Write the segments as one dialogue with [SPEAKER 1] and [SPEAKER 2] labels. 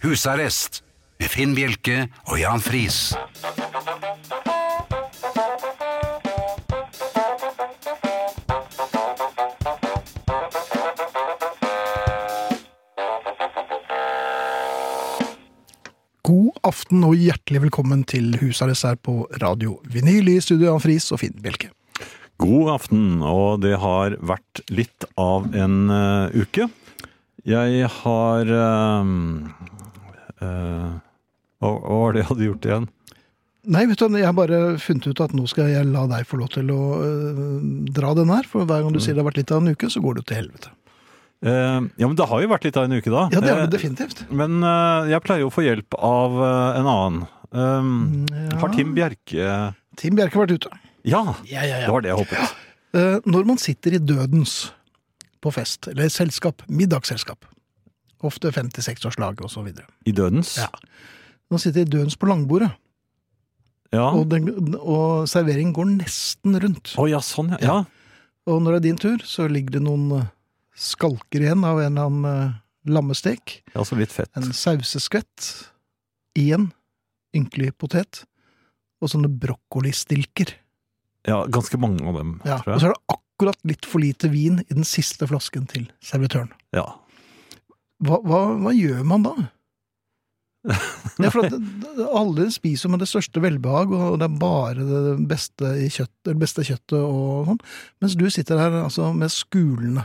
[SPEAKER 1] Husarrest med Finn Bjelke og Jan Friis.
[SPEAKER 2] God aften og hjertelig velkommen til Husarrest her på Radio Vinyl i studio Jan Friis og Finn Bjelke.
[SPEAKER 3] God aften, og det har vært litt av en eh, uke. Jeg har eh, eh, Hva hva var det jeg hadde gjort igjen?
[SPEAKER 2] Nei, vet du, jeg har bare funnet ut at nå skal jeg la deg få lov til å øh, dra den her, for hver gang du sier det har vært litt av en uke, så går det jo til helvete.
[SPEAKER 3] Eh, ja, men det har jo vært litt av en uke, da.
[SPEAKER 2] Ja, det er det
[SPEAKER 3] Eh,
[SPEAKER 2] definitivt.
[SPEAKER 3] Men eh, jeg pleier jo å få hjelp av eh, en annen. Um, Har Tim Bjerke
[SPEAKER 2] Tim Bjerke har vært ute.
[SPEAKER 3] Ja,
[SPEAKER 2] Ja, ja,
[SPEAKER 3] det var det jeg håpet.
[SPEAKER 2] Eh, Når man sitter i dødens på fest, eller selskap, middagsselskap, ofte 56-årslag og så videre.
[SPEAKER 3] I dødens?
[SPEAKER 2] Ja. Man sitter i dødens på langbordet,
[SPEAKER 3] Ja.
[SPEAKER 2] og, den, og serveringen går nesten rundt.
[SPEAKER 3] Å ja, sånn, ja. ja.
[SPEAKER 2] Og når det er din tur, så ligger det noen eh, skalker igjen av en eller annen eh, lammestek,
[SPEAKER 3] Ja, så altså litt fett.
[SPEAKER 2] en sauseskvett, én ynkelig potet, og sånne brokkolistilker.
[SPEAKER 3] Ja, ganske mange av dem,
[SPEAKER 2] Ja. Og
[SPEAKER 3] tror jeg.
[SPEAKER 2] så er det akkurat litt for lite vin i den siste flasken til servitøren.
[SPEAKER 3] Ja.
[SPEAKER 2] Hva, hva, hva gjør man da? Ja, for at det- det- Alle spiser med det største velbehag, og det er bare det beste, i kjøtt, det beste kjøttet og sånn. Mens du sitter her altså, med skulene.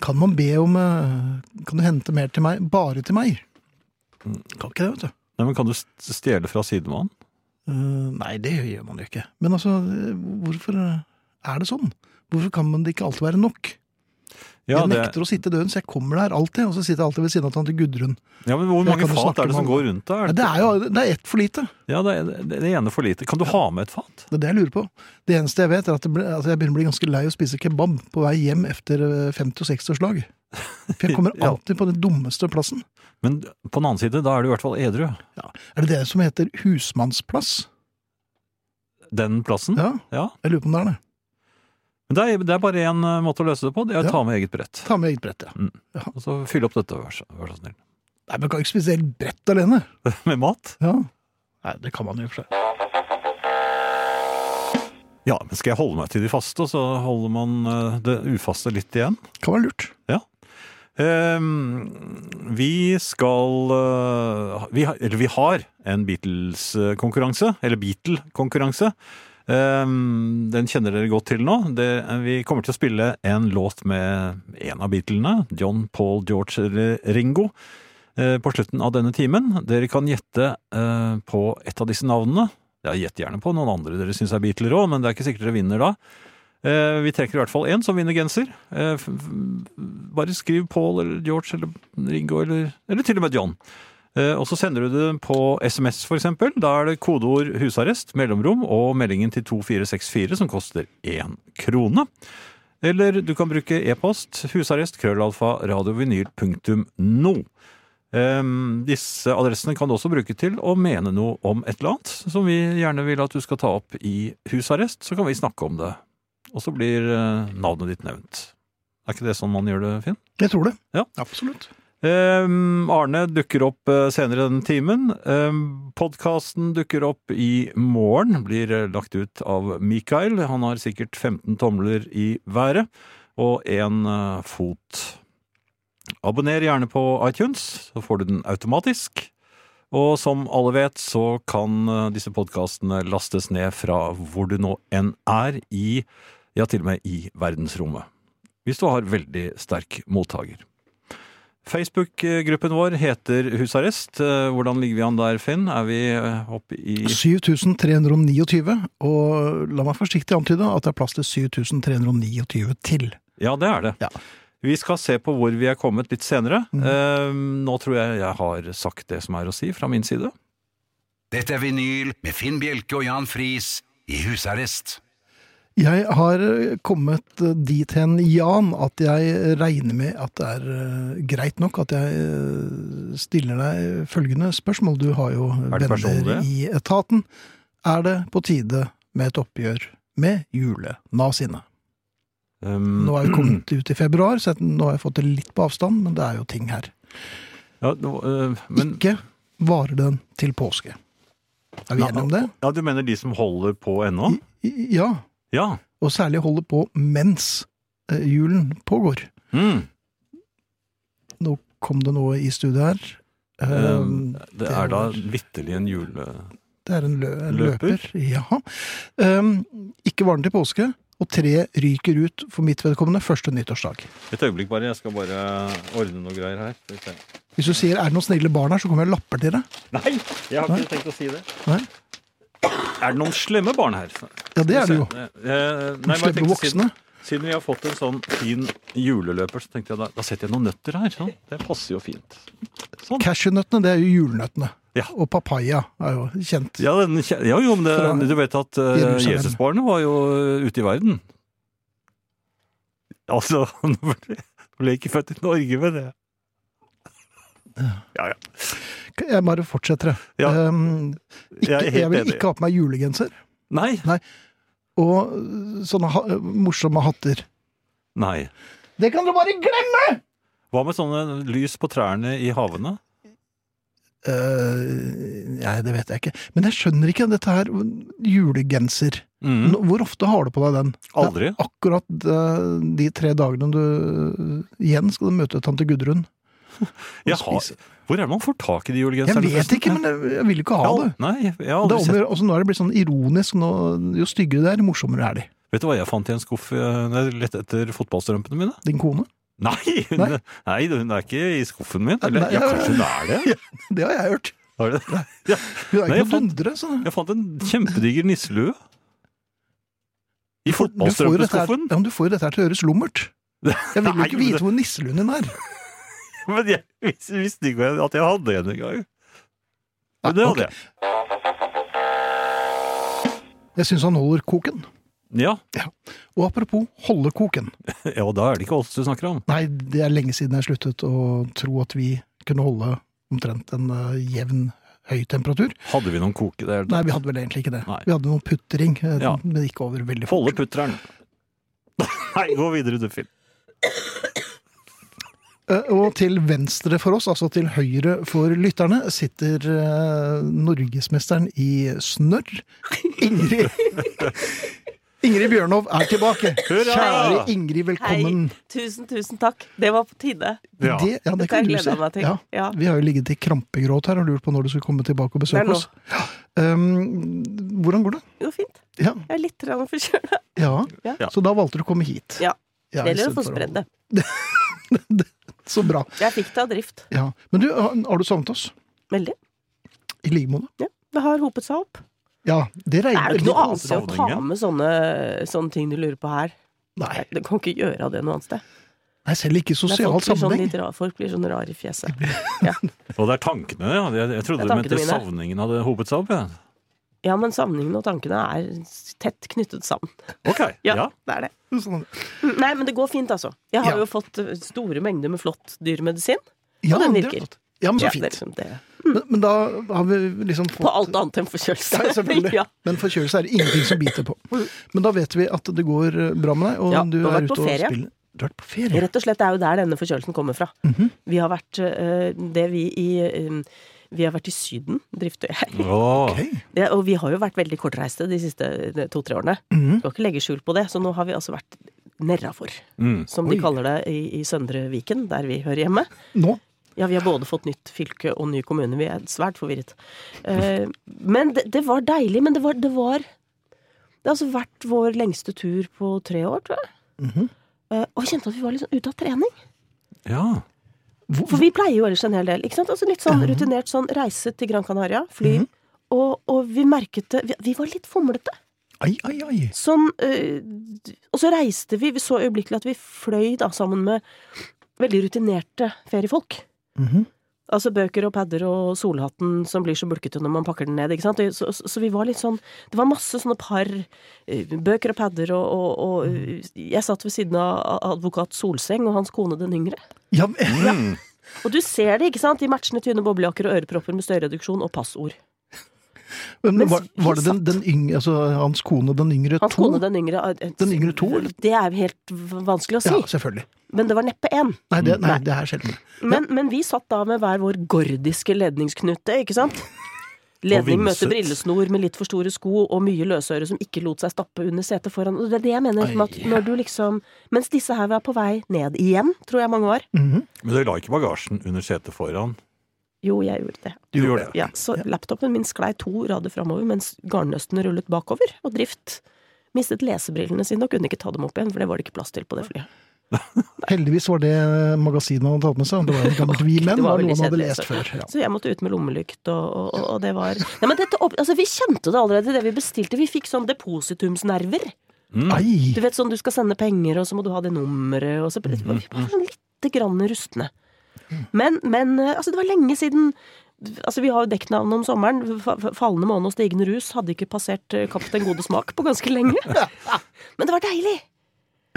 [SPEAKER 2] Kan man be om eh, Kan du hente mer til meg? Bare til meg? Kan ikke det, vet du.
[SPEAKER 3] Nei, men kan du st- stjele fra sidemannen?
[SPEAKER 2] Eh, nei, det gjør man jo ikke. Men altså, eh, hvorfor eh, er det sånn? Hvorfor kan man det ikke alltid være nok?
[SPEAKER 3] Ja,
[SPEAKER 2] jeg
[SPEAKER 3] det,
[SPEAKER 2] nekter å sitte i døden, så jeg kommer der alltid. Og så sitter jeg alltid ved siden av tante Gudrun.
[SPEAKER 3] ja, men hvor
[SPEAKER 2] Jeg
[SPEAKER 3] mange
[SPEAKER 2] kan jo
[SPEAKER 3] fat
[SPEAKER 2] snakke
[SPEAKER 3] er det som
[SPEAKER 2] med
[SPEAKER 3] går rundt der?
[SPEAKER 2] Nei, Det er jo det er ett for lite.
[SPEAKER 3] Ja, det, er- det, det ene for lite. Kan du ha med et fat?
[SPEAKER 2] Det er det jeg lurer på. Det eneste jeg vet, er at, det ble, at jeg begynner å bli ganske lei å spise kebab på vei hjem etter eh, 50- og 60-årslag. For jeg kommer
[SPEAKER 3] Ja.
[SPEAKER 2] alltid på den dummeste plassen.
[SPEAKER 3] Men på den annen side, da er du i hvert fall edru.
[SPEAKER 2] Er det det som heter husmannsplass?
[SPEAKER 3] Den plassen.
[SPEAKER 2] Ja,
[SPEAKER 3] Ja.
[SPEAKER 2] jeg lurer på om det er det.
[SPEAKER 3] Men det er, det er bare én eh, måte å løse det på. Det er
[SPEAKER 2] Ja.
[SPEAKER 3] å ta med eget brett.
[SPEAKER 2] Ta med eget brett, ja.
[SPEAKER 3] Og så fylle opp dette, vær så, vær så snill.
[SPEAKER 2] Nei, men kan jo ikke spise helt brett alene.
[SPEAKER 3] Med mat?
[SPEAKER 2] Ja. Nei, det kan man jo i og for seg.
[SPEAKER 3] Ja, men skal jeg holde meg til de faste, og så holder man eh, det ufaste litt igjen?
[SPEAKER 2] Kan være lurt.
[SPEAKER 3] Ehm, vi skal eh, vi, har- Eller vi har en Beatles-konkurranse. Eller Beatle-konkurranse. Ehm, den kjenner dere godt til nå. Det, vi kommer til å spille en låt med en av Beatlene. John, Paul, George eller Ringo. eh, På slutten av denne timen. Dere kan gjette eh, på et av disse navnene. Ja, Gjett gjerne på noen andre dere syns er Beatler òg, men det er ikke sikkert dere vinner da. Eh, Vi trekker i hvert fall én som vinner genser. Eh, f- f- Bare skriv Paul eller George eller Ringo eller, eller til og med John. Eh, Og så sender du det på SMS, for eksempel. Da er det kodeord 'husarrest', mellomrom og meldingen til 2464, som koster én krone. Eller du kan bruke e-post husarrest krøllalfa radiovinyl.no. Ehm, disse adressene kan du også bruke til å mene noe om et eller annet som vi gjerne vil at du skal ta opp i husarrest. Så kan vi snakke om det og så blir eh, navnet ditt nevnt. Er ikke det sånn man gjør det, Finn?
[SPEAKER 2] Jeg tror det.
[SPEAKER 3] Ja.
[SPEAKER 2] Absolutt.
[SPEAKER 3] Ehm, Arne dukker opp eh, senere denne timen. Um, Podkasten dukker opp i morgen. Blir eh, lagt ut av Mikael. Han har sikkert 15 tomler i været og én fot. Abonner gjerne på iTunes, så får du den automatisk. Og som alle vet, så kan eh, disse podkastene lastes ned fra hvor du nå enn er i, ja, til og med i verdensrommet. Hvis du har veldig sterk mottaker. Facebook-gruppen vår heter Husarrest. Eh, Hvordan ligger vi an der, Finn? Er vi eh, oppe i
[SPEAKER 2] 7329, og la meg forsiktig antyde at det er plass til 7329 til.
[SPEAKER 3] Ja, det er det.
[SPEAKER 2] Ja. Mm.
[SPEAKER 3] Vi skal se på hvor vi er kommet litt senere. Eh, nå tror jeg jeg har sagt det som er å si fra min side.
[SPEAKER 1] Dette er vinyl med Finn Bjelke og Jan Friis i husarrest.
[SPEAKER 2] Jeg har eh, kommet dit hen, Jan, at jeg regner med at det er eh, greit nok at jeg eh, stiller deg følgende spørsmål. Du har jo
[SPEAKER 3] det
[SPEAKER 2] venner
[SPEAKER 3] personlig?
[SPEAKER 2] i etaten. Er det på tide med et oppgjør med julenaziene?
[SPEAKER 3] Um,
[SPEAKER 2] Nå er vi kommet ut i februar, så nå har jeg fått det litt på avstand, men det er jo ting her.
[SPEAKER 3] ja, nå, eh, men,
[SPEAKER 2] Ikke varer den til påske. Er vi
[SPEAKER 3] Nei,
[SPEAKER 2] enige om det? Mm.
[SPEAKER 3] ja, du mener de som holder på ennå?
[SPEAKER 2] I- Ja,
[SPEAKER 3] Ja.
[SPEAKER 2] og særlig holder på mens eh, julen pågår.
[SPEAKER 3] Mm.
[SPEAKER 2] Nå kom det noe i studiet her.
[SPEAKER 3] Um,
[SPEAKER 2] Um,
[SPEAKER 3] det er da vitterlig en jule...
[SPEAKER 2] det er en lø
[SPEAKER 3] løper.
[SPEAKER 2] løper. Ja. Um, ikke var den til påske, og tre ryker ut for mitt vedkommende første nyttårsdag.
[SPEAKER 3] Et øyeblikk bare, jeg skal bare ordne noe greier her. Skal vi se.
[SPEAKER 2] Hvis du sier 'er det noen snille barn her', så kommer jeg og lapper til deg.
[SPEAKER 3] Nei, jeg har ikke tenkt å si det.
[SPEAKER 2] Nei?
[SPEAKER 3] Er det noen slemme barn her?
[SPEAKER 2] Ja, det er det jo.
[SPEAKER 3] Eh, eh, nei, men jeg
[SPEAKER 2] Slemme
[SPEAKER 3] tenkte siden,
[SPEAKER 2] voksne.
[SPEAKER 3] siden vi har fått en sånn fin juleløper, så tenkte jeg da, da setter jeg noen nøtter her. Sånn. Det passer jo fint. Sånn.
[SPEAKER 2] Cashewnøttene, det er jo julenøttene.
[SPEAKER 3] Ja.
[SPEAKER 2] Og papaya er jo kjent.
[SPEAKER 3] Ja, den, kje- ja jo, men det,
[SPEAKER 2] Fra
[SPEAKER 3] du vet at eh,
[SPEAKER 2] Jerusalem.
[SPEAKER 3] Jesusbarnet var jo eh, ute i verden. Altså, nå ble, nå ble jeg ikke født i Norge med det. Ja, ja.
[SPEAKER 2] Jeg bare fortsetter, jeg.
[SPEAKER 3] Ja.
[SPEAKER 2] Um, ikke,
[SPEAKER 3] Jeg er
[SPEAKER 2] jeg,
[SPEAKER 3] helt
[SPEAKER 2] vil
[SPEAKER 3] enig.
[SPEAKER 2] ikke ha på meg julegenser.
[SPEAKER 3] Nei.
[SPEAKER 2] Og øh, sånne ha morsomme hatter.
[SPEAKER 3] Nei.
[SPEAKER 2] Det kan du bare glemme!
[SPEAKER 3] Hva med sånne lys på trærne i havene?
[SPEAKER 2] Øh, nei, det vet jeg ikke. Men jeg skjønner ikke dette her. Julegenser.
[SPEAKER 3] Mm.
[SPEAKER 2] Nå- Hvor ofte har du på deg den?
[SPEAKER 3] Aldri.
[SPEAKER 2] Akkurat øh, de tre dagene du øh, igjen skal møte tante Gudrun.
[SPEAKER 3] Jeg har, hvor er det man får tak i de
[SPEAKER 2] Jeg
[SPEAKER 3] julegenserne?
[SPEAKER 2] vet ikke, men jeg, jeg vil ikke ha det.
[SPEAKER 3] Nei, jeg har
[SPEAKER 2] det er om,
[SPEAKER 3] aldri
[SPEAKER 2] å
[SPEAKER 3] sett
[SPEAKER 2] gjøre- altså, nå er det blitt sånn ironisk. Nå, jo styggere det er, jo morsommere er de.
[SPEAKER 3] Vet du hva jeg fant i en skuff eh, når jeg lette etter fotballstrømpene mine?
[SPEAKER 2] Din kone.
[SPEAKER 3] Nei! Hun, nei.
[SPEAKER 2] Nei.
[SPEAKER 3] hun er ikke i skuffen min.
[SPEAKER 2] Nei,
[SPEAKER 3] Eller,
[SPEAKER 2] nei,
[SPEAKER 3] ja,
[SPEAKER 2] ja.
[SPEAKER 3] kanskje hun er det?
[SPEAKER 2] Det har jeg hørt.
[SPEAKER 3] Har du det?
[SPEAKER 2] Hun er
[SPEAKER 3] Ja. Nei,
[SPEAKER 2] ikke
[SPEAKER 3] jeg
[SPEAKER 2] noe
[SPEAKER 3] fant-
[SPEAKER 2] dundre. sånn. Så.
[SPEAKER 3] Jeg fant en kjempediger nisselue.
[SPEAKER 2] Du får jo dette her,
[SPEAKER 3] I fotballstrømpeskuffen.
[SPEAKER 2] ja, men du får jo dette her til å høres lummert. Jeg vil jo
[SPEAKER 3] Nei,
[SPEAKER 2] ikke
[SPEAKER 3] men
[SPEAKER 2] vite
[SPEAKER 3] det-
[SPEAKER 2] hvor nisselunden din er.
[SPEAKER 3] Men jeg vis- visste ikke at jeg hadde en engang. Men det
[SPEAKER 2] Nei,
[SPEAKER 3] hadde jeg.
[SPEAKER 2] Jeg syns han holder koken.
[SPEAKER 3] Ja.
[SPEAKER 2] Og apropos holde koken.
[SPEAKER 3] ja, og da er det ikke oss du snakker om.
[SPEAKER 2] Nei, det er lenge siden jeg sluttet å tro at vi kunne holde omtrent en eh, jevn høy temperatur.
[SPEAKER 3] Hadde vi noen koke der?
[SPEAKER 2] Nei, vi hadde vel egentlig ikke det.
[SPEAKER 3] Nei.
[SPEAKER 2] Vi hadde noen putring, eh,
[SPEAKER 3] Ja.
[SPEAKER 2] men ikke over veldig fort.
[SPEAKER 3] Folde putteren. Nei, gå videre, du, Finn.
[SPEAKER 2] Eh, Og til venstre for oss, altså til høyre for lytterne, sitter eh, norgesmesteren i snørr, Ingrid. Ingrid Bjørnov er tilbake.
[SPEAKER 3] Hurra!
[SPEAKER 2] Kjære Ingrid,
[SPEAKER 4] Hei,
[SPEAKER 2] velkommen.
[SPEAKER 4] tusen, tusen takk. Det var på tide.
[SPEAKER 3] Ja.
[SPEAKER 2] Det, ja, det
[SPEAKER 4] Dette har
[SPEAKER 2] kan
[SPEAKER 4] jeg
[SPEAKER 2] du
[SPEAKER 4] gleda
[SPEAKER 2] si.
[SPEAKER 4] meg til.
[SPEAKER 2] Ja.
[SPEAKER 4] Ja.
[SPEAKER 2] Vi har jo ligget i krampegråt her og lurt på når du skulle komme tilbake og
[SPEAKER 4] Det
[SPEAKER 2] besøke
[SPEAKER 4] er nå.
[SPEAKER 2] oss. Ja. Um, hvordan går det?
[SPEAKER 4] Jo, fint.
[SPEAKER 2] Ja.
[SPEAKER 4] Jeg er litt grann forkjøla.
[SPEAKER 2] Ja.
[SPEAKER 4] Ja.
[SPEAKER 2] Så da valgte du å komme hit.
[SPEAKER 4] Ja. Det
[SPEAKER 2] i
[SPEAKER 4] gjelder å
[SPEAKER 2] stedet
[SPEAKER 4] få
[SPEAKER 2] for å-
[SPEAKER 4] spredd det.
[SPEAKER 2] Så bra.
[SPEAKER 4] Jeg fikk det av drift.
[SPEAKER 2] Ja. Men du, har har du savnet oss?
[SPEAKER 4] Veldig.
[SPEAKER 2] I like måte.
[SPEAKER 4] Ja. Det har hopet seg opp.
[SPEAKER 2] Ja, det
[SPEAKER 4] Det
[SPEAKER 2] regner
[SPEAKER 4] er det ikke noe annet sted å
[SPEAKER 3] savningen?
[SPEAKER 4] ta med sånne, eh, sånne ting du lurer på her?
[SPEAKER 2] Nei.
[SPEAKER 4] Du kan ikke gjøre av det noe annet sted.
[SPEAKER 2] Nei, selv ikke i
[SPEAKER 4] Nei,
[SPEAKER 2] sosial
[SPEAKER 4] folk, blir sånn
[SPEAKER 2] sammenheng.
[SPEAKER 4] litt rar, folk blir sånn rare i fjeset.
[SPEAKER 3] Og det er tankene, ja. Jeg, jeg trodde
[SPEAKER 4] Det
[SPEAKER 3] du
[SPEAKER 4] er
[SPEAKER 3] mente
[SPEAKER 4] tankene mine.
[SPEAKER 3] savningen hadde hopet seg opp. Ja.
[SPEAKER 4] Ja, men sammenhengen og tankene er tett knyttet sammen.
[SPEAKER 3] Ok, ja.
[SPEAKER 4] Ja, det er det. Mm,
[SPEAKER 2] Sånn-
[SPEAKER 4] Nei, men det går fint, altså. Jeg har
[SPEAKER 2] Ja.
[SPEAKER 4] jo fått eh, store mengder med flott dyremedisin.
[SPEAKER 2] Ja,
[SPEAKER 4] den
[SPEAKER 2] det er
[SPEAKER 4] virker.
[SPEAKER 2] godt. Ja, men så
[SPEAKER 4] Ja, det er
[SPEAKER 2] fint.
[SPEAKER 4] liksom det.
[SPEAKER 2] Men, men da har vi liksom fått
[SPEAKER 4] På alt annet enn forkjølelse.
[SPEAKER 2] Ja, selvfølgelig.
[SPEAKER 4] Ja.
[SPEAKER 2] Men forkjølelse er det ingenting som biter på. Men da vet vi at det går eh, bra med deg, og
[SPEAKER 4] Ja,
[SPEAKER 2] du,
[SPEAKER 4] du har
[SPEAKER 2] er
[SPEAKER 4] vært på
[SPEAKER 2] ute og
[SPEAKER 4] ferie.
[SPEAKER 2] spiller. Du har vært på ferie?
[SPEAKER 4] Rett og slett, det er jo der denne forkjølelsen kommer fra.
[SPEAKER 2] Mhm.
[SPEAKER 4] Vi har vært eh, det vi i eh, Vi har vært i Syden, Drifte og
[SPEAKER 3] Mm.
[SPEAKER 4] jeg.
[SPEAKER 3] Åh.
[SPEAKER 2] Ok.
[SPEAKER 4] Det, og vi har jo vært veldig kortreiste de siste eh, to-tre årene.
[SPEAKER 2] Mhm.
[SPEAKER 4] Skal ikke legge skjul på det. Så nå har vi altså vært nerrafor,
[SPEAKER 3] Mm.
[SPEAKER 4] som
[SPEAKER 2] Oi.
[SPEAKER 4] de kaller det i, i Søndre Viken, der vi hører hjemme.
[SPEAKER 2] Nå?
[SPEAKER 4] Ja, vi har både fått nytt fylke og ny kommune. Vi er svært forvirret. Eh, men det, det var deilig. Men det var, det var Det har altså vært vår lengste tur på tre år, tror jeg.
[SPEAKER 2] Mhm.
[SPEAKER 4] Eh, og jeg kjente at vi var litt sånn ute av trening.
[SPEAKER 3] Ja.
[SPEAKER 4] For vi pleier jo ellers en hel del. ikke sant? Altså Litt sånn rutinert
[SPEAKER 2] Mhm.
[SPEAKER 4] sånn reise til Gran Canaria, fly. og, og vi merket det vi, vi var litt fomlete.
[SPEAKER 2] Ai, ai, ai.
[SPEAKER 4] Sånn, eh, og så reiste vi, vi så øyeblikkelig at vi fløy da sammen med veldig rutinerte feriefolk.
[SPEAKER 2] Mhm.
[SPEAKER 4] Altså bøker og padder og solhatten som blir så bulkete når man pakker den ned. ikke sant? Så, så, så vi var litt sånn Det var masse sånne par eh, bøker og padder, og, og, og eh, jeg satt ved siden av advokat Solseng og hans kone den yngre.
[SPEAKER 2] Ja, men- ja.
[SPEAKER 4] Og du ser det, ikke sant? De matchende tynne boblejakker og ørepropper med støyreduksjon og passord.
[SPEAKER 2] Men
[SPEAKER 4] Mens
[SPEAKER 2] var, var det
[SPEAKER 4] vi
[SPEAKER 2] den, den yngre, altså hans kone, den yngre
[SPEAKER 4] Hans
[SPEAKER 2] to?
[SPEAKER 4] kone den yngre eh,
[SPEAKER 2] Den yngre to, eller?
[SPEAKER 4] Det er jo helt v- vanskelig å si. Mm,
[SPEAKER 2] Ja, selvfølgelig.
[SPEAKER 4] Men det var neppe én.
[SPEAKER 2] Nei, det, nei, det er sjelden.
[SPEAKER 4] Men, men vi satt da med hver vår gordiske ledningsknute, ikke sant? Ledning
[SPEAKER 3] Og
[SPEAKER 4] møter
[SPEAKER 3] vimset.
[SPEAKER 4] brillesnor med litt for store sko og mye løsøre som ikke lot seg stappe under setet foran. Og det er det jeg mener med at når du liksom Mens disse her var på vei ned igjen, tror jeg mange var.
[SPEAKER 2] Mhm.
[SPEAKER 3] Men du la ikke bagasjen under setet foran?
[SPEAKER 4] Jo, jeg gjorde det.
[SPEAKER 3] Du gjorde det.
[SPEAKER 4] Ja, så laptopen min sklei to rader framover mens garnnøstene rullet bakover, og drift. Mistet lesebrillene sine og kunne ikke ta dem opp igjen, for det var det ikke plass til på det flyet.
[SPEAKER 2] Heldigvis var det magasinet han hadde tatt med seg. Det var jo gammelt Vi Menn,
[SPEAKER 4] Det var
[SPEAKER 2] var noe
[SPEAKER 4] veldig
[SPEAKER 2] han hadde
[SPEAKER 4] kjedelig,
[SPEAKER 2] lest
[SPEAKER 4] så-
[SPEAKER 2] før. Ja.
[SPEAKER 4] Så jeg måtte ut med lommelykt, og, og, og, og det var Nei, men dette opp... Altså, vi kjente det allerede, det vi bestilte. Vi fikk sånn depositumsnerver.
[SPEAKER 2] Ai!
[SPEAKER 4] Du vet sånn du skal sende penger, og så må du ha det nummeret, og så
[SPEAKER 2] Mhm,
[SPEAKER 4] Vi var sånn lite grann rustne.
[SPEAKER 2] Mm.
[SPEAKER 4] Men, men eh, altså, det var lenge siden Altså, Vi har jo dekknavn om sommeren. Fa- fa- Fallende måne og stigende rus hadde ikke passert eh, Kaptein Gode smak på ganske lenge. Men det var deilig!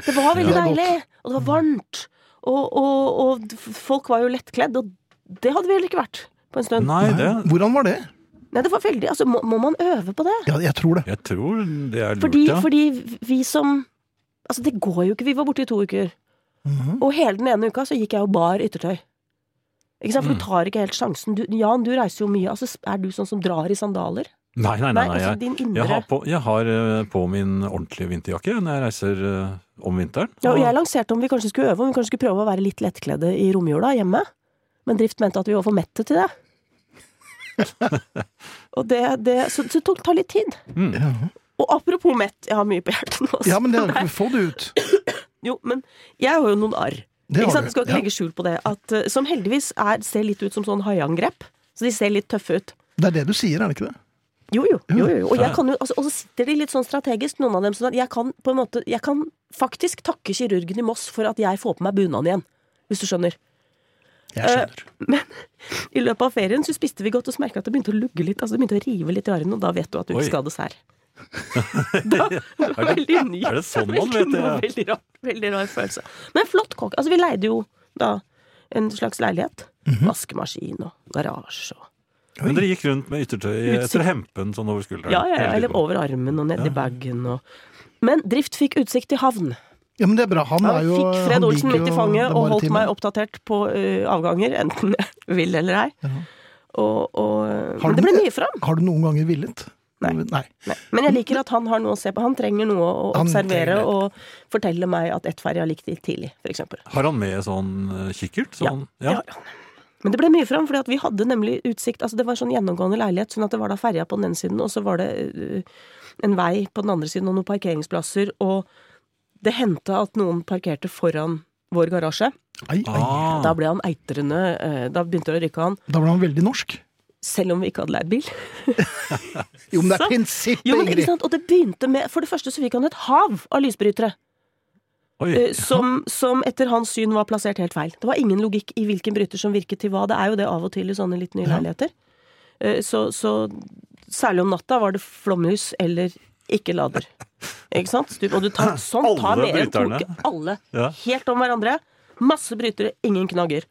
[SPEAKER 4] Det var veldig
[SPEAKER 2] Ja, det er
[SPEAKER 4] deilig, og det var varmt. Og, og, og d- folk var jo lettkledd, og det hadde vi heller ikke vært på en stund. Nei,
[SPEAKER 3] Nei, det
[SPEAKER 2] Hvordan var det?
[SPEAKER 4] det var veldig, altså, må, må man øve på det?
[SPEAKER 2] Ja, jeg tror det.
[SPEAKER 3] Jeg tror det er lurt,
[SPEAKER 4] Fordi,
[SPEAKER 3] ja.
[SPEAKER 4] fordi vi som Altså, det går jo ikke. Vi var borte i to uker. Og hele den ene uka så gikk jeg og bar yttertøy. Ikke sant? For du tar ikke helt sjansen. Du, Jan, du reiser jo mye. Altså, er du sånn som drar i sandaler?
[SPEAKER 3] Nei, nei, nei. nei
[SPEAKER 4] altså,
[SPEAKER 3] jeg,
[SPEAKER 4] din indre
[SPEAKER 3] jeg, har på, jeg har eh, på min ordentlige vinterjakke når jeg reiser eh, om vinteren.
[SPEAKER 4] ja, og Jeg
[SPEAKER 3] Og-
[SPEAKER 4] lanserte om vi kanskje skulle øve, om vi kanskje skulle prøve å være litt lettkledde i romjula hjemme. Men Drift mente at vi var for mette til det. og det, det Så så det tok, tar litt tid.
[SPEAKER 3] Mm.
[SPEAKER 4] Og apropos mett, jeg har mye på hjertet nå. altså.
[SPEAKER 2] Ja, men det, få det ut.
[SPEAKER 4] Jo, men jeg har jo noen arr.
[SPEAKER 2] Det
[SPEAKER 4] Ikke
[SPEAKER 2] har
[SPEAKER 4] sant?
[SPEAKER 2] du.
[SPEAKER 4] Jeg skal ikke
[SPEAKER 2] Ja.
[SPEAKER 4] legge skjul på det. At, eh, som heldigvis er, ser litt ut som sånn haiangrep. Så de ser litt tøffe ut.
[SPEAKER 2] Det er det du sier, er det ikke det?
[SPEAKER 4] Jo, jo. jo, jo. Og, jeg kan jo altså, og så sitter de litt sånn strategisk, noen av dem. Sånn at jeg kan på en måte Jeg kan faktisk takke kirurgen i Moss for at jeg får på meg bunaden igjen. Hvis du skjønner.
[SPEAKER 2] Jeg
[SPEAKER 4] Eh,
[SPEAKER 2] skjønner.
[SPEAKER 4] I løpet av ferien så spiste vi godt og så merka jeg at det begynte å lugge litt. Altså det begynte å rive litt i armen, og da vet du at du
[SPEAKER 3] Oi.
[SPEAKER 4] ikke skal ha dessert. Da, det var veldig ny.
[SPEAKER 3] er det sånn man vet
[SPEAKER 4] Veldig-
[SPEAKER 3] det?
[SPEAKER 4] Veldig rar, veldig rar følelse. Men flott kokk. Altså, vi leide jo da en slags leilighet. Vaskemaskin og garasje og
[SPEAKER 3] Men dere gikk rundt med yttertøy
[SPEAKER 4] Utsikt.
[SPEAKER 3] etter hempen sånn over skulderen?
[SPEAKER 4] Ja, ja, ja,
[SPEAKER 3] hele
[SPEAKER 4] eller
[SPEAKER 3] tiden.
[SPEAKER 4] over armen og nedi bagen og Men Drift fikk utsikt til havn.
[SPEAKER 2] Ja, men det er bra. Han er
[SPEAKER 4] Jeg
[SPEAKER 2] jo
[SPEAKER 4] fikk Fred
[SPEAKER 2] han
[SPEAKER 4] Olsen
[SPEAKER 2] liker
[SPEAKER 4] midt i
[SPEAKER 2] jo
[SPEAKER 4] fanget
[SPEAKER 2] det
[SPEAKER 4] og holdt
[SPEAKER 2] maritime.
[SPEAKER 4] meg oppdatert på eh, avganger, enten jeg vil eller ei. Og, og,
[SPEAKER 2] Har
[SPEAKER 4] men
[SPEAKER 2] du-
[SPEAKER 4] det ble mye fram.
[SPEAKER 2] Har du noen ganger villet?
[SPEAKER 4] Nei.
[SPEAKER 2] Nei.
[SPEAKER 4] Nei. Men jeg liker at han har noe å se på. Han trenger noe å
[SPEAKER 2] Han
[SPEAKER 4] observere
[SPEAKER 2] trenger det.
[SPEAKER 4] og fortelle meg at ett ferje har likt det tidlig, f.eks.
[SPEAKER 3] Har han med sånn eh, kikkert? Sånn, ja.
[SPEAKER 4] Men det ble mye fram, for vi hadde nemlig utsikt altså Det var sånn gjennomgående leilighet, sånn at det var da ferja på den ene siden, og så var det øh, en vei på den andre siden og noen parkeringsplasser, og det hendte at noen parkerte foran vår garasje.
[SPEAKER 2] Ai, ai.
[SPEAKER 3] Ah,
[SPEAKER 4] Da ble han eitrende, øh, da begynte det å rykke han,
[SPEAKER 2] Da ble han veldig norsk.
[SPEAKER 4] selv om vi ikke hadde leid bil.
[SPEAKER 2] Jo, men det
[SPEAKER 4] Så-
[SPEAKER 2] er prinsippet,
[SPEAKER 4] Jo, men ikke
[SPEAKER 2] Ingrid!
[SPEAKER 4] sant, og det begynte med For det første så fikk han et hav av lysbrytere.
[SPEAKER 3] oi.
[SPEAKER 4] Eh, som, som etter hans syn var plassert helt feil. Det var ingen logikk i hvilken bryter som virket til hva. Det er jo det av og til i sånne litt nye
[SPEAKER 2] Ja.
[SPEAKER 4] leiligheter. Eh, Så, så særlig om natta var det flomlys eller ikke lader. Ikke sant? Du, og du tar sånn, tar
[SPEAKER 3] Alle
[SPEAKER 4] mer enn to
[SPEAKER 3] bryterne.
[SPEAKER 4] uker. Alle.
[SPEAKER 3] Ja.
[SPEAKER 4] Helt om hverandre. Masse brytere, ingen knagger.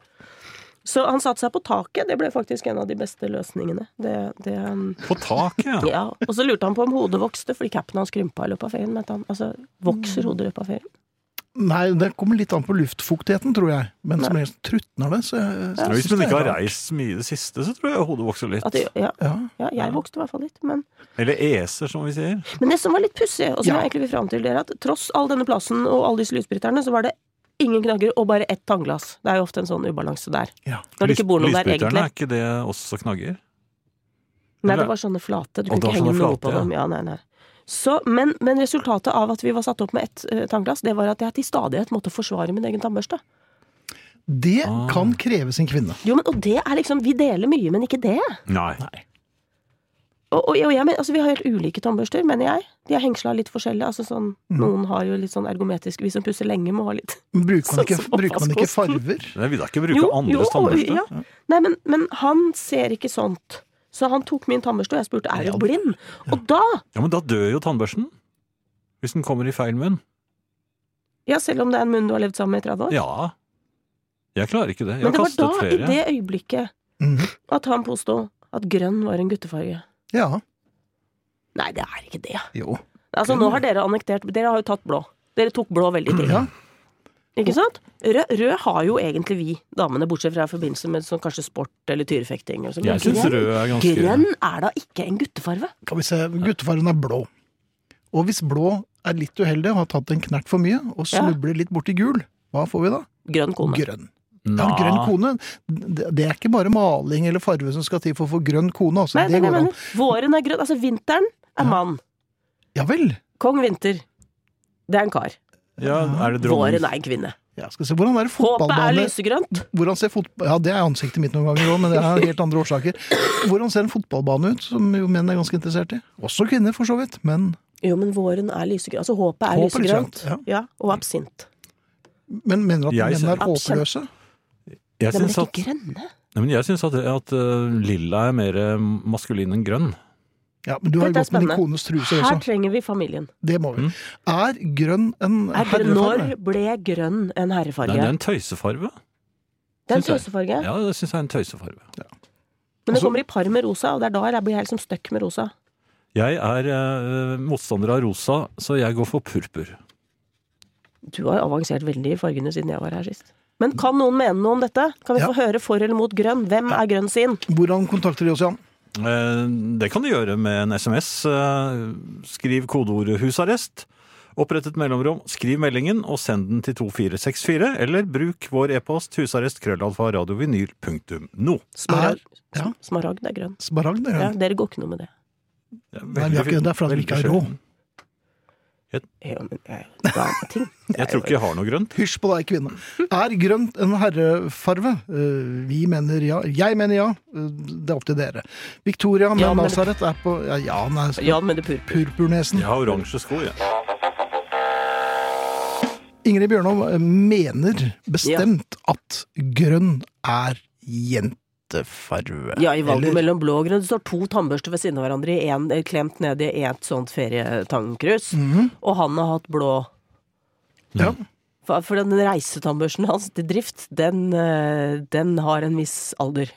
[SPEAKER 4] Så han satte seg på taket. Det ble faktisk en av de beste løsningene. Det, det, um,
[SPEAKER 3] På taket, ja.
[SPEAKER 4] ja. Og så lurte han på om hodet vokste, fordi capen hans krympa i løpet av ferien. mente han. Altså, vokser hodet i løpet av ferien?
[SPEAKER 2] Nei, det kommer litt an på luftfuktigheten, tror jeg. Men som helst trutner det, så jeg
[SPEAKER 3] Ja,
[SPEAKER 2] jeg
[SPEAKER 3] Hvis
[SPEAKER 2] synes
[SPEAKER 3] man
[SPEAKER 2] det er
[SPEAKER 3] ikke har
[SPEAKER 2] bra.
[SPEAKER 3] reist så mye i det siste, så tror jeg hodet vokser litt.
[SPEAKER 4] At det, ja.
[SPEAKER 2] Ja.
[SPEAKER 4] Ja, jeg vokste i hvert fall litt. Men,
[SPEAKER 3] Eller eser, som vi sier.
[SPEAKER 4] men det som var litt pussig, og som
[SPEAKER 2] Ja.
[SPEAKER 4] jeg egentlig vil fram til, det er at tross all denne plassen og alle disse lysbryterne, så var det ingen knagger og bare ett tannglass. Det er jo ofte en sånn ubalanse der.
[SPEAKER 2] Ja.
[SPEAKER 4] Når det ikke bor noen der
[SPEAKER 3] Lysbryterne,
[SPEAKER 4] egentlig.
[SPEAKER 3] er ikke det også knagger?
[SPEAKER 4] Nei, det var sånne flate. Du
[SPEAKER 3] Og
[SPEAKER 4] kunne
[SPEAKER 3] det var
[SPEAKER 4] ikke henge
[SPEAKER 3] sånne
[SPEAKER 4] noe
[SPEAKER 3] flate,
[SPEAKER 4] på
[SPEAKER 3] ja.
[SPEAKER 4] dem. Ja, nei, nei. Så, men, men resultatet av at vi var satt opp med ett eh, tannglass, det var at jeg til stadighet måtte forsvare min egen tannbørste.
[SPEAKER 2] Det
[SPEAKER 3] Ah.
[SPEAKER 2] kan kreve sin kvinne.
[SPEAKER 4] Jo, men, og det er liksom Vi deler mye, men ikke det.
[SPEAKER 3] Nei.
[SPEAKER 4] Og, og, jeg- og jeg mener, altså, vi har helt ulike tannbørster, mener jeg. De er hengsla litt forskjellig. Altså, sånn,
[SPEAKER 2] Mm.
[SPEAKER 4] Noen har jo litt sånn ergometisk Vi som pusser lenge, må ha litt
[SPEAKER 2] Men bruker man ikke,
[SPEAKER 4] Sånn som
[SPEAKER 2] bruker man ikke
[SPEAKER 4] oppvaskkosten.
[SPEAKER 2] farver?
[SPEAKER 3] Jeg vil da ikke bruke
[SPEAKER 4] Jo, jo,
[SPEAKER 3] andres tannbørste.
[SPEAKER 4] ja. Nei, men, men han ser ikke sånt. Så han tok min tannbørste, og jeg spurte er du
[SPEAKER 2] Ja.
[SPEAKER 4] blind. Og da,
[SPEAKER 3] Ja, men da dør jo tannbørsten. Hvis den kommer i feil munn.
[SPEAKER 4] ja, selv om det er en munn du har levd sammen med i 30 år
[SPEAKER 3] Ja. Jeg klarer ikke det. Jeg har
[SPEAKER 4] Men det var
[SPEAKER 3] kastet
[SPEAKER 4] da, i
[SPEAKER 3] flere.
[SPEAKER 4] det øyeblikket,
[SPEAKER 2] Mhm.
[SPEAKER 4] at han påsto at grønn var en guttefarge.
[SPEAKER 2] Ja.
[SPEAKER 4] Nei, det er ikke det.
[SPEAKER 2] Jo.
[SPEAKER 4] Altså, nå har dere annektert Dere har jo tatt blå. Dere tok blå veldig tidlig.
[SPEAKER 2] Ja.
[SPEAKER 4] Ikke sant? Rød, rød har jo egentlig vi damene, bortsett fra i forbindelse med sånn kanskje sport eller tyrefekting. Eller sånn. Men
[SPEAKER 3] Jeg syns
[SPEAKER 4] grønn-
[SPEAKER 3] rød er ganske
[SPEAKER 4] Grønn er da ikke en guttefarve?
[SPEAKER 2] Skal vi se, guttefargen er blå. Og hvis blå er litt uheldig og har tatt en knert for mye, og
[SPEAKER 4] Ja.
[SPEAKER 2] snubler litt borti gul, hva får vi da?
[SPEAKER 4] Grønn kone.
[SPEAKER 2] Grønn. Ja,
[SPEAKER 3] Nei.
[SPEAKER 2] grønn kone, det det er ikke bare maling eller farve som skal til for å få grønn kone, altså.
[SPEAKER 4] Nei,
[SPEAKER 2] det
[SPEAKER 4] det er det jeg
[SPEAKER 2] går an.
[SPEAKER 4] mener. Våren er grønn. Altså, vinteren er mann.
[SPEAKER 2] Ja vel.
[SPEAKER 4] Kong Vinter. Det er en kar.
[SPEAKER 3] Ja, er det dronning?
[SPEAKER 4] Våren er en kvinne.
[SPEAKER 2] Ja, skal se, hvordan er det
[SPEAKER 4] Håpet er
[SPEAKER 2] fotballbane
[SPEAKER 4] lysegrønt.
[SPEAKER 2] Hvordan ser fotball... Ja, det er ansiktet mitt noen ganger òg, men det er helt andre årsaker. Hvordan ser en fotballbane ut, som jo menn er ganske interessert i? Også kvinner, for så vidt, men,
[SPEAKER 4] Jo, men våren er lysegrønn. Altså, håpet er
[SPEAKER 2] Håpet er
[SPEAKER 4] lysegrønt.
[SPEAKER 2] lysegrønt,
[SPEAKER 4] Ja, og absint.
[SPEAKER 2] men mener at
[SPEAKER 3] Jeg
[SPEAKER 2] menn
[SPEAKER 3] ser-
[SPEAKER 2] er håpløse?
[SPEAKER 3] Jeg
[SPEAKER 4] Nei, men
[SPEAKER 3] syns
[SPEAKER 4] ikke
[SPEAKER 3] at,
[SPEAKER 4] grønne.
[SPEAKER 3] Nei, men jeg syns at, at øh, lilla er mer øh, maskulin enn grønn.
[SPEAKER 2] Ja, men du har jo
[SPEAKER 4] Dette er
[SPEAKER 2] gått med din
[SPEAKER 4] spennende.
[SPEAKER 2] kones truser
[SPEAKER 4] Her
[SPEAKER 2] også.
[SPEAKER 4] trenger vi familien.
[SPEAKER 2] Det må vi. Er grønn en
[SPEAKER 4] Er grønn, når
[SPEAKER 2] herrefarge?
[SPEAKER 4] ble grønn en herrefarge?
[SPEAKER 3] Nei, det er en tøysefarve.
[SPEAKER 4] det er en
[SPEAKER 3] synes jeg.
[SPEAKER 4] tøsefarge.
[SPEAKER 3] Ja, det syns jeg er en tøysefarve.
[SPEAKER 4] Men det
[SPEAKER 2] Altså-
[SPEAKER 4] kommer i par med rosa, og det er da jeg blir helt som støkk med rosa.
[SPEAKER 3] Jeg er øh, motstander av rosa, så jeg går for purpur.
[SPEAKER 4] Du har avansert veldig i fargene siden jeg var her sist. Men kan noen mene noe om dette? Kan vi
[SPEAKER 2] Ja.
[SPEAKER 4] få høre for eller mot grønn? Hvem er grønn sin?
[SPEAKER 2] Hvordan kontakter de oss, Jan?
[SPEAKER 3] Eh, Det kan du gjøre med en SMS. Eh, Skriv kodeordet 'husarrest'. Opprett et mellomrom, skriv meldingen og send den til 2464, eller bruk vår e-post husarrestkrøllalfa.radiovinyl.no.
[SPEAKER 2] Er,
[SPEAKER 4] Smaragd,
[SPEAKER 2] ja,
[SPEAKER 4] smaragd er grønn.
[SPEAKER 2] smaragd er
[SPEAKER 4] Ja,
[SPEAKER 2] grønn.
[SPEAKER 4] dere går ikke noe med det.
[SPEAKER 2] Nei, vi har ikke- det er fordi vi ikke har råd.
[SPEAKER 4] Ja, men, jeg, da, ting.
[SPEAKER 3] Jeg tror ikke jeg har noe grønt.
[SPEAKER 2] Hysj på deg, kvinne. Er grønt en herrefarve? Eh, Vi mener ja. Jeg mener ja. Eh, Det er opp til dere. Victoria med
[SPEAKER 4] Ja, men-
[SPEAKER 2] Nazaret er på Ja, ja nei, altså,
[SPEAKER 4] Ja, men det purpur.
[SPEAKER 2] purpurnesen.
[SPEAKER 3] Jeg har oransje sko, jeg.
[SPEAKER 2] Ingrid Bjørnov eh, mener bestemt at grønn er jentefarve.
[SPEAKER 4] Ja, i valget
[SPEAKER 2] Eller-
[SPEAKER 4] mellom blå og grønn. Det står to tannbørster ved siden av hverandre, i en, eh, klemt ned i et sånt ferietangkrus. Og han har hatt blå.
[SPEAKER 2] Ja.
[SPEAKER 4] For, for den reisetannbørsten hans til drift, den, eh, den har en viss alder.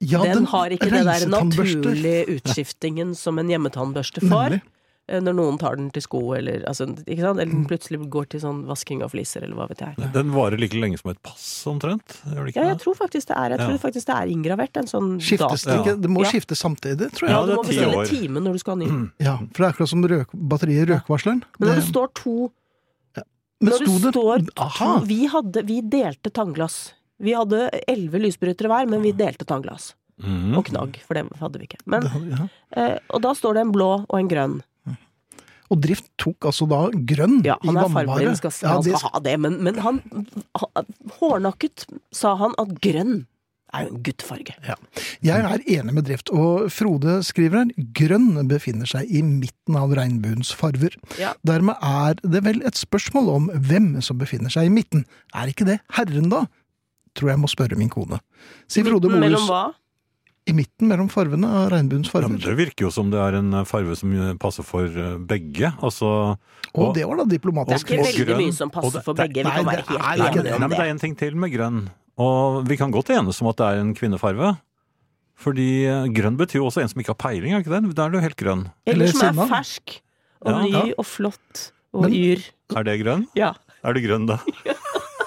[SPEAKER 2] Ja,
[SPEAKER 4] den, har ikke det der
[SPEAKER 2] reisetannbørster.
[SPEAKER 4] naturlige utskiftingen som en hjemmetannbørste får.
[SPEAKER 2] Nemlig.
[SPEAKER 4] eh, Når noen tar den til sko, eller, altså, ikke sant? eller den plutselig går til sånn vasking av fliser, eller hva vet jeg.
[SPEAKER 3] Den varer like lenge som et pass, omtrent. Gjør det
[SPEAKER 4] Ja,
[SPEAKER 3] ikke
[SPEAKER 4] jeg
[SPEAKER 3] det?
[SPEAKER 4] tror faktisk det er, jeg tror
[SPEAKER 3] Ja.
[SPEAKER 4] faktisk det er inngravert en sånn
[SPEAKER 2] Skiftes det
[SPEAKER 4] dato.
[SPEAKER 2] ikke? Det må
[SPEAKER 4] Ja.
[SPEAKER 2] skiftes samtidig, tror jeg.
[SPEAKER 4] Ja,
[SPEAKER 3] Ja,
[SPEAKER 4] du
[SPEAKER 3] det er
[SPEAKER 4] må
[SPEAKER 3] ti
[SPEAKER 4] bestille
[SPEAKER 3] år.
[SPEAKER 4] time når du skal ha ny.
[SPEAKER 2] Ja, for det er akkurat som røk, batteriet i røkvarsleren.
[SPEAKER 4] Men når
[SPEAKER 2] Mm.
[SPEAKER 4] det
[SPEAKER 2] Det-
[SPEAKER 4] står to
[SPEAKER 2] Men
[SPEAKER 4] Når
[SPEAKER 2] sto
[SPEAKER 4] det står to
[SPEAKER 2] Aha!
[SPEAKER 4] vi, hadde, vi delte tannglass. Vi hadde elleve lysbrytere hver, men vi delte tannglass.
[SPEAKER 3] Mhm.
[SPEAKER 4] Og knagg, for det hadde vi ikke. Men,
[SPEAKER 2] Mm. Det- ja.
[SPEAKER 4] eh, og da står det en blå og en grønn.
[SPEAKER 2] Og Drift tok altså da grønn
[SPEAKER 4] Ja, han
[SPEAKER 2] i
[SPEAKER 4] er
[SPEAKER 2] vannvare.
[SPEAKER 4] fargeblind, skal,
[SPEAKER 2] Ja,
[SPEAKER 4] han
[SPEAKER 2] det-
[SPEAKER 4] skal ha det, men, men han ha- Hårnakket sa han at grønn er jo en guttefarge.
[SPEAKER 2] ja. Jeg er enig med Drift, og Frode skriver her grønn befinner seg i midten av regnbuens farver.
[SPEAKER 4] Ja.
[SPEAKER 2] Dermed er det vel et spørsmål om hvem som befinner seg i midten. Er ikke det herren, da? Tror jeg må spørre min kone. Sier Frode
[SPEAKER 4] Midten
[SPEAKER 2] Bolhus
[SPEAKER 4] Mellom hva?
[SPEAKER 2] i midten mellom farvene av regnbuens
[SPEAKER 3] Ja,
[SPEAKER 2] farver.
[SPEAKER 3] men det virker jo som det er en farve som passer for eh, begge. Altså
[SPEAKER 2] og det var da
[SPEAKER 4] Det er
[SPEAKER 2] diplomatisk.
[SPEAKER 3] Og-
[SPEAKER 4] ikke
[SPEAKER 3] og
[SPEAKER 4] veldig
[SPEAKER 3] grønn.
[SPEAKER 4] mye som
[SPEAKER 3] Og
[SPEAKER 4] passer
[SPEAKER 3] det-
[SPEAKER 4] for begge, vi
[SPEAKER 2] nei,
[SPEAKER 4] kan være
[SPEAKER 2] det er
[SPEAKER 3] Nei,
[SPEAKER 4] helt
[SPEAKER 2] ikke
[SPEAKER 3] men-
[SPEAKER 2] det.
[SPEAKER 4] enige
[SPEAKER 3] Nei,
[SPEAKER 4] om
[SPEAKER 3] men det er
[SPEAKER 4] det.
[SPEAKER 3] en ting til med grønn. Og vi kan godt enes om at det er en kvinnefarve. Fordi eh, grønn betyr jo også en som ikke har peiling, er ikke det? Da er du helt grønn.
[SPEAKER 2] Eller
[SPEAKER 4] Eller som
[SPEAKER 2] sinna.
[SPEAKER 4] er fersk og
[SPEAKER 3] Ja,
[SPEAKER 4] ny
[SPEAKER 3] ja.
[SPEAKER 4] og flott og
[SPEAKER 2] Men-
[SPEAKER 4] yr.
[SPEAKER 3] Er det grønn?
[SPEAKER 4] Ja.
[SPEAKER 3] Er du grønn da?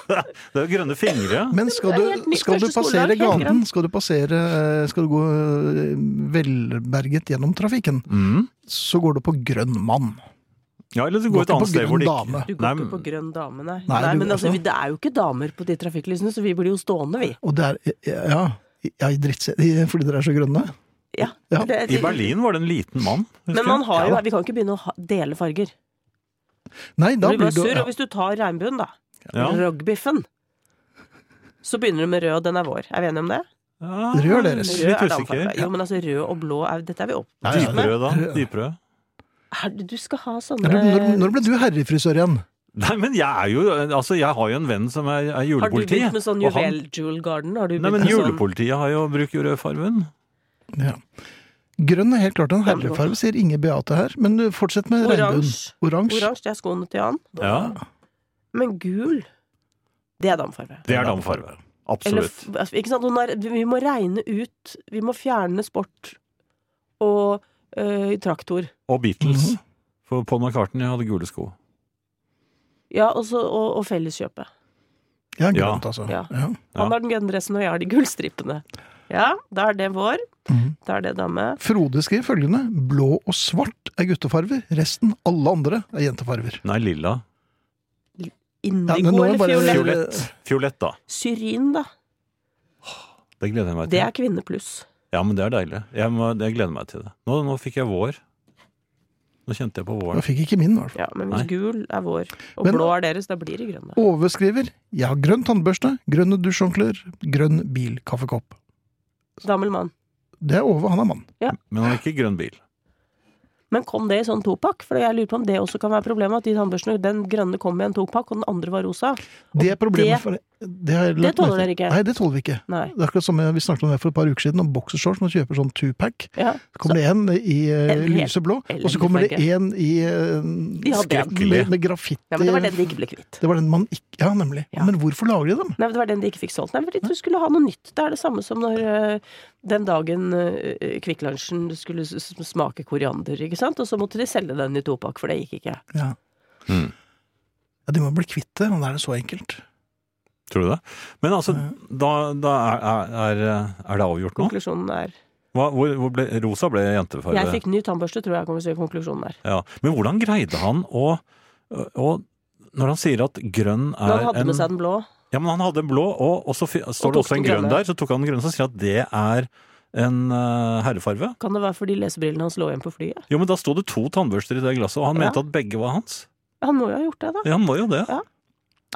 [SPEAKER 3] det er jo grønne fingre.
[SPEAKER 2] Men skal
[SPEAKER 4] Det er helt
[SPEAKER 2] du,
[SPEAKER 4] nytt
[SPEAKER 2] skal du
[SPEAKER 4] første
[SPEAKER 2] passere
[SPEAKER 4] skoledag, helt
[SPEAKER 2] gaten, skal du passere eh, Skal du gå eh, velberget gjennom trafikken,
[SPEAKER 3] Mm.
[SPEAKER 2] så går du på grønn mann.
[SPEAKER 3] Ja, eller så
[SPEAKER 2] Går
[SPEAKER 3] går et
[SPEAKER 2] ikke
[SPEAKER 3] annet
[SPEAKER 2] på
[SPEAKER 3] sted hvor
[SPEAKER 2] grønn
[SPEAKER 3] det
[SPEAKER 2] dame.
[SPEAKER 3] ikke
[SPEAKER 4] Du går
[SPEAKER 3] Nei,
[SPEAKER 4] ikke
[SPEAKER 3] men-
[SPEAKER 4] på grønn dame, nei.
[SPEAKER 2] Nei,
[SPEAKER 4] nei,
[SPEAKER 2] du-
[SPEAKER 4] men altså,
[SPEAKER 2] altså-
[SPEAKER 4] vi, det er jo ikke damer på de trafikklysene, så vi blir jo stående, vi.
[SPEAKER 2] Og det er Ja, ja i drittse- i- fordi dere er så grønne?
[SPEAKER 4] Ja.
[SPEAKER 2] Ja,
[SPEAKER 4] Det-
[SPEAKER 3] I Berlin var det en liten mann. husker
[SPEAKER 4] Men man
[SPEAKER 3] jeg.
[SPEAKER 4] har jo,
[SPEAKER 2] Ja da.
[SPEAKER 4] vi kan ikke begynne å ha- dele farger.
[SPEAKER 2] Nei, da
[SPEAKER 4] Det blir
[SPEAKER 2] blir du
[SPEAKER 4] bare surr.
[SPEAKER 2] ja.
[SPEAKER 4] Og hvis du tar regnbuen, da,
[SPEAKER 3] Ja.
[SPEAKER 4] rogbiffen, så begynner du med rød, den er vår. Er vi enige om det?
[SPEAKER 3] Ja,
[SPEAKER 2] Rør deres.
[SPEAKER 3] Litt
[SPEAKER 4] Rød er det
[SPEAKER 3] usikker.
[SPEAKER 4] anfallsfra. Jo, men altså rød og blå er, Dette er vi opp...
[SPEAKER 2] Ja, ja.
[SPEAKER 3] Dyprød, da. Dyprød.
[SPEAKER 4] Er det- Du skal ha sånne
[SPEAKER 2] Når, når, når ble du herrefrisør igjen?
[SPEAKER 3] Nei, men jeg er jo Altså, jeg har jo en venn som er, er
[SPEAKER 4] Har du
[SPEAKER 3] julepoliti.
[SPEAKER 4] begynt med sånn
[SPEAKER 3] og han-
[SPEAKER 4] juvel jewel garden? Har du
[SPEAKER 3] Nei,
[SPEAKER 4] begynt
[SPEAKER 3] men
[SPEAKER 4] med sånn-
[SPEAKER 3] julepolitiet har jo bruker jo rødfargen.
[SPEAKER 2] Ja. Grønn er helt klart en herrefarge, sier Inge Beate her. Men du, fortsett med regnbuen.
[SPEAKER 4] Oransje.
[SPEAKER 2] Oransje.
[SPEAKER 4] Oransje, det er skoene til Jan.
[SPEAKER 3] Ja,
[SPEAKER 4] Men gul, det er damefarge.
[SPEAKER 3] det er damefarge.
[SPEAKER 4] Eller,
[SPEAKER 3] Absolutt.
[SPEAKER 4] f- altså, ikke sant? Hun er- Vi må regne ut Vi må fjerne sport og øh, traktor.
[SPEAKER 3] Og Beatles.
[SPEAKER 4] Mhm.
[SPEAKER 3] For Paul McCartney hadde gule sko.
[SPEAKER 4] Ja, og, så, og, og felleskjøpet.
[SPEAKER 2] Ja,
[SPEAKER 3] Ja.
[SPEAKER 2] grønt, altså.
[SPEAKER 4] Ja.
[SPEAKER 2] Ja.
[SPEAKER 3] Ja.
[SPEAKER 4] Han har den grønne dressen, og jeg har de gullstripene. Ja, da er det vår.
[SPEAKER 2] Mhm.
[SPEAKER 4] Da er det dame.
[SPEAKER 2] Frode skriver følgende. Blå og svart er guttefarver. Resten, alle andre, er jentefarver.
[SPEAKER 3] Nei, lilla.
[SPEAKER 2] Ja,
[SPEAKER 4] Indigo
[SPEAKER 2] men nå er
[SPEAKER 4] eller
[SPEAKER 2] bare-
[SPEAKER 4] fiolett?
[SPEAKER 3] Fiolett. Fiolett, da.
[SPEAKER 4] Syrin, da.
[SPEAKER 3] Det gleder jeg meg
[SPEAKER 4] Det
[SPEAKER 3] til.
[SPEAKER 4] er kvinne pluss.
[SPEAKER 3] Ja, men det er deilig. Jeg, må, jeg gleder meg til det. Nå, nå fikk jeg vår. Nå kjente jeg på
[SPEAKER 2] Da
[SPEAKER 3] våren.
[SPEAKER 2] fikk ikke min, i hvert fall.
[SPEAKER 4] Ja, men
[SPEAKER 3] Nei.
[SPEAKER 4] hvis gul er vår, og
[SPEAKER 2] Men-
[SPEAKER 4] blå er deres, da blir det grønne.
[SPEAKER 2] Ove skriver 'Jeg har grønn tannbørste, grønne dusjhåndklær, grønn bil, kaffekopp'.
[SPEAKER 4] Gammel mann.
[SPEAKER 2] Det er Ove, han er mann.
[SPEAKER 3] Men han har ikke grønn bil.
[SPEAKER 4] Men kom det i sånn topakk? For jeg lurer på om det også kan være problemet, at de tannbørstene, den grønne kom i en topakk, og den andre var rosa.
[SPEAKER 2] Det er problemet
[SPEAKER 4] det-
[SPEAKER 2] for Det, har jeg
[SPEAKER 4] det
[SPEAKER 2] lagt merke
[SPEAKER 4] tåler
[SPEAKER 2] til.
[SPEAKER 4] dere ikke.
[SPEAKER 2] Nei, det tåler vi ikke.
[SPEAKER 4] Nei.
[SPEAKER 2] Det er akkurat som vi snakket om det for et par uker siden, om boksershorts. Man kjøper sånn two-pack.
[SPEAKER 4] Ja.
[SPEAKER 2] Så kommer det en i eh,
[SPEAKER 4] En helt
[SPEAKER 2] lyseblå, og så
[SPEAKER 4] elendig
[SPEAKER 2] kommer det
[SPEAKER 4] farge.
[SPEAKER 2] en i eh,
[SPEAKER 4] Ja, det-
[SPEAKER 2] skrekkelig med, med graffiti.
[SPEAKER 4] ja, men det var den de ikke ble kvitt.
[SPEAKER 2] Det var den man ikke Ja, nemlig.
[SPEAKER 4] Ja.
[SPEAKER 2] Men hvorfor lager de dem?
[SPEAKER 4] Nei, men det var den de ikke fikk solgt. Nei, fordi du skulle ha noe nytt. Det er det samme som når øh, den dagen øh, Kvikk Lunsjen skulle s- s- smake koriander, ikke sant? Og så måtte de selge den i topakk, for det gikk ikke.
[SPEAKER 2] Ja.
[SPEAKER 3] Mm.
[SPEAKER 2] ja de må bli kvitt det, men da er det så enkelt.
[SPEAKER 3] Tror du det? Men altså, da, da er, er, er det avgjort nå?
[SPEAKER 4] Konklusjonen er
[SPEAKER 3] Hva, hvor, hvor ble, rosa ble jentefarge.
[SPEAKER 4] Jeg fikk ny tannbørste, tror jeg kommer til å si konklusjonen er.
[SPEAKER 3] Ja, men hvordan greide han å, å Når han sier at grønn er
[SPEAKER 4] Men han hadde
[SPEAKER 3] en,
[SPEAKER 4] med seg den blå.
[SPEAKER 3] Ja, men han hadde en blå, og, og så fi- står det
[SPEAKER 4] tok
[SPEAKER 3] også en
[SPEAKER 4] den
[SPEAKER 3] grønn
[SPEAKER 4] grønne.
[SPEAKER 3] der. Så tok han den grønne, så sier han at det er en eh, herrefarve.
[SPEAKER 4] Kan det være fordi lesebrillene hans lå igjen på flyet?
[SPEAKER 3] Jo, men da sto det to tannbørster i det glasset, og han
[SPEAKER 4] Ja.
[SPEAKER 3] mente at begge var hans.
[SPEAKER 4] Han må jo ha gjort det, da.
[SPEAKER 3] Ja, han må jo det.
[SPEAKER 4] Ja.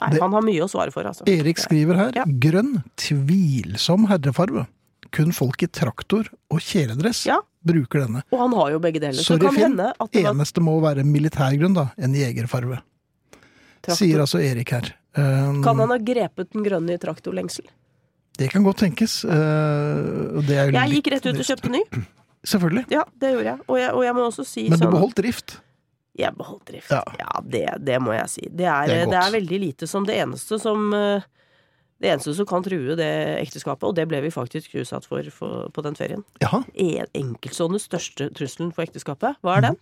[SPEAKER 4] Nei,
[SPEAKER 2] Det-
[SPEAKER 4] han har mye å svare for, altså.
[SPEAKER 2] Erik skriver her
[SPEAKER 4] Ja.
[SPEAKER 2] grønn, tvilsom herrefarve. Kun folk i traktor og kjeledress
[SPEAKER 4] Ja.
[SPEAKER 2] bruker denne.
[SPEAKER 4] Og han har jo begge deler. Så
[SPEAKER 2] Sorry,
[SPEAKER 4] det kan
[SPEAKER 2] Finn.
[SPEAKER 4] hende at det var
[SPEAKER 2] Eneste må være militærgrunn, da. En jegerfarve. Sier
[SPEAKER 4] traktor.
[SPEAKER 2] altså Erik her. Um,
[SPEAKER 4] Kan han ha grepet den grønne i traktorlengsel?
[SPEAKER 2] Det kan godt tenkes. eh, og det er jo
[SPEAKER 4] Jeg
[SPEAKER 2] litt
[SPEAKER 4] gikk rett ut og
[SPEAKER 2] trist.
[SPEAKER 4] kjøpte ny.
[SPEAKER 2] Selvfølgelig.
[SPEAKER 4] Ja, det gjorde jeg. Og jeg, og jeg må også si
[SPEAKER 2] Men du
[SPEAKER 4] sånn
[SPEAKER 2] beholdt drift.
[SPEAKER 4] Jeg beholdt drift.
[SPEAKER 2] Ja.
[SPEAKER 4] Ja, det, det må jeg si. Det er,
[SPEAKER 2] Det
[SPEAKER 4] det,
[SPEAKER 2] er
[SPEAKER 4] er
[SPEAKER 2] godt.
[SPEAKER 4] veldig lite som det eneste som eh, Det eneste som kan true det ekteskapet, og det ble vi faktisk utsatt for, for på den ferien.
[SPEAKER 2] Jaha.
[SPEAKER 4] En- Enkeltstående største trusselen for ekteskapet, hva
[SPEAKER 2] Mhm.
[SPEAKER 4] er den?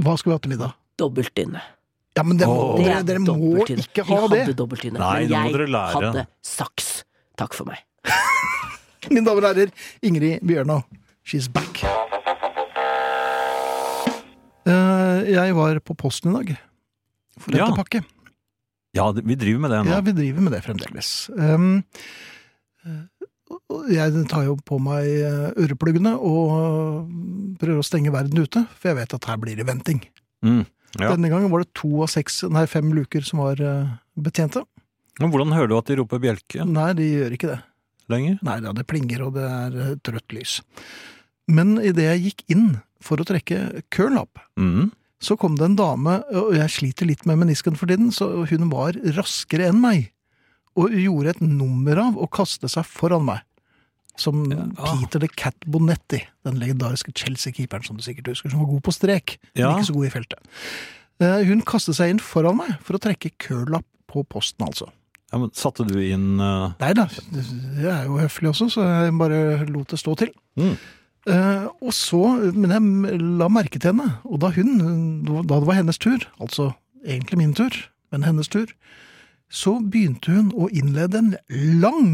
[SPEAKER 2] Hva skal vi ha til middag?
[SPEAKER 4] Dobbeltdyne.
[SPEAKER 2] Ja, men det må,
[SPEAKER 3] Åh.
[SPEAKER 4] Det
[SPEAKER 2] dere,
[SPEAKER 4] er
[SPEAKER 2] dere må
[SPEAKER 4] dobbeltdyne.
[SPEAKER 2] ikke ha
[SPEAKER 4] Vi
[SPEAKER 2] det!
[SPEAKER 4] hadde dobbeltdyne,
[SPEAKER 3] Nei, nå må
[SPEAKER 4] men
[SPEAKER 3] dere
[SPEAKER 4] jeg
[SPEAKER 3] lære.
[SPEAKER 4] hadde saks. Takk for meg.
[SPEAKER 2] Mine damer og herrer, Ingrid Bjørnå, she's back. Eh, jeg var på posten i dag for å
[SPEAKER 3] Ja.
[SPEAKER 2] hente pakke.
[SPEAKER 3] Ja, det- vi driver med det nå.
[SPEAKER 2] Ja, vi driver med det fremdeles. Um, og jeg tar jo på meg eh, ørepluggene og mm, prøver å stenge verden ute, for jeg vet at her blir det venting.
[SPEAKER 3] Mm. Ja.
[SPEAKER 2] Denne gangen var det to av seks, nei, fem luker som var eh, betjente.
[SPEAKER 3] Men hvordan hører du at de roper bjelke
[SPEAKER 2] Nei, de gjør ikke det.
[SPEAKER 3] lenger?
[SPEAKER 2] Nei da, det plinger og det er eh, trøtt lys. Men idet jeg gikk inn for å trekke kølen opp,
[SPEAKER 3] Mm.
[SPEAKER 2] så kom det en dame, og jeg sliter litt med menisken for tiden, så hun var raskere enn meg, og gjorde et nummer av å kaste seg foran meg. Som
[SPEAKER 3] ah.
[SPEAKER 2] Peter the Cat Bonetti, den legendariske Chelsea-keeperen som du sikkert husker, som var god på strek,
[SPEAKER 3] Ja.
[SPEAKER 2] men ikke så god i feltet. Eh, Hun kastet seg inn foran meg for å trekke kølapp på posten, altså.
[SPEAKER 3] Ja, men satte du inn eh,
[SPEAKER 2] Nei da, jeg er jo høflig også, så jeg bare lot det stå til.
[SPEAKER 3] Mm.
[SPEAKER 2] Eh, og så, Men jeg la merke til henne, og da hun, da det var hennes tur, altså egentlig min tur, men hennes tur, så begynte hun å innlede en lang,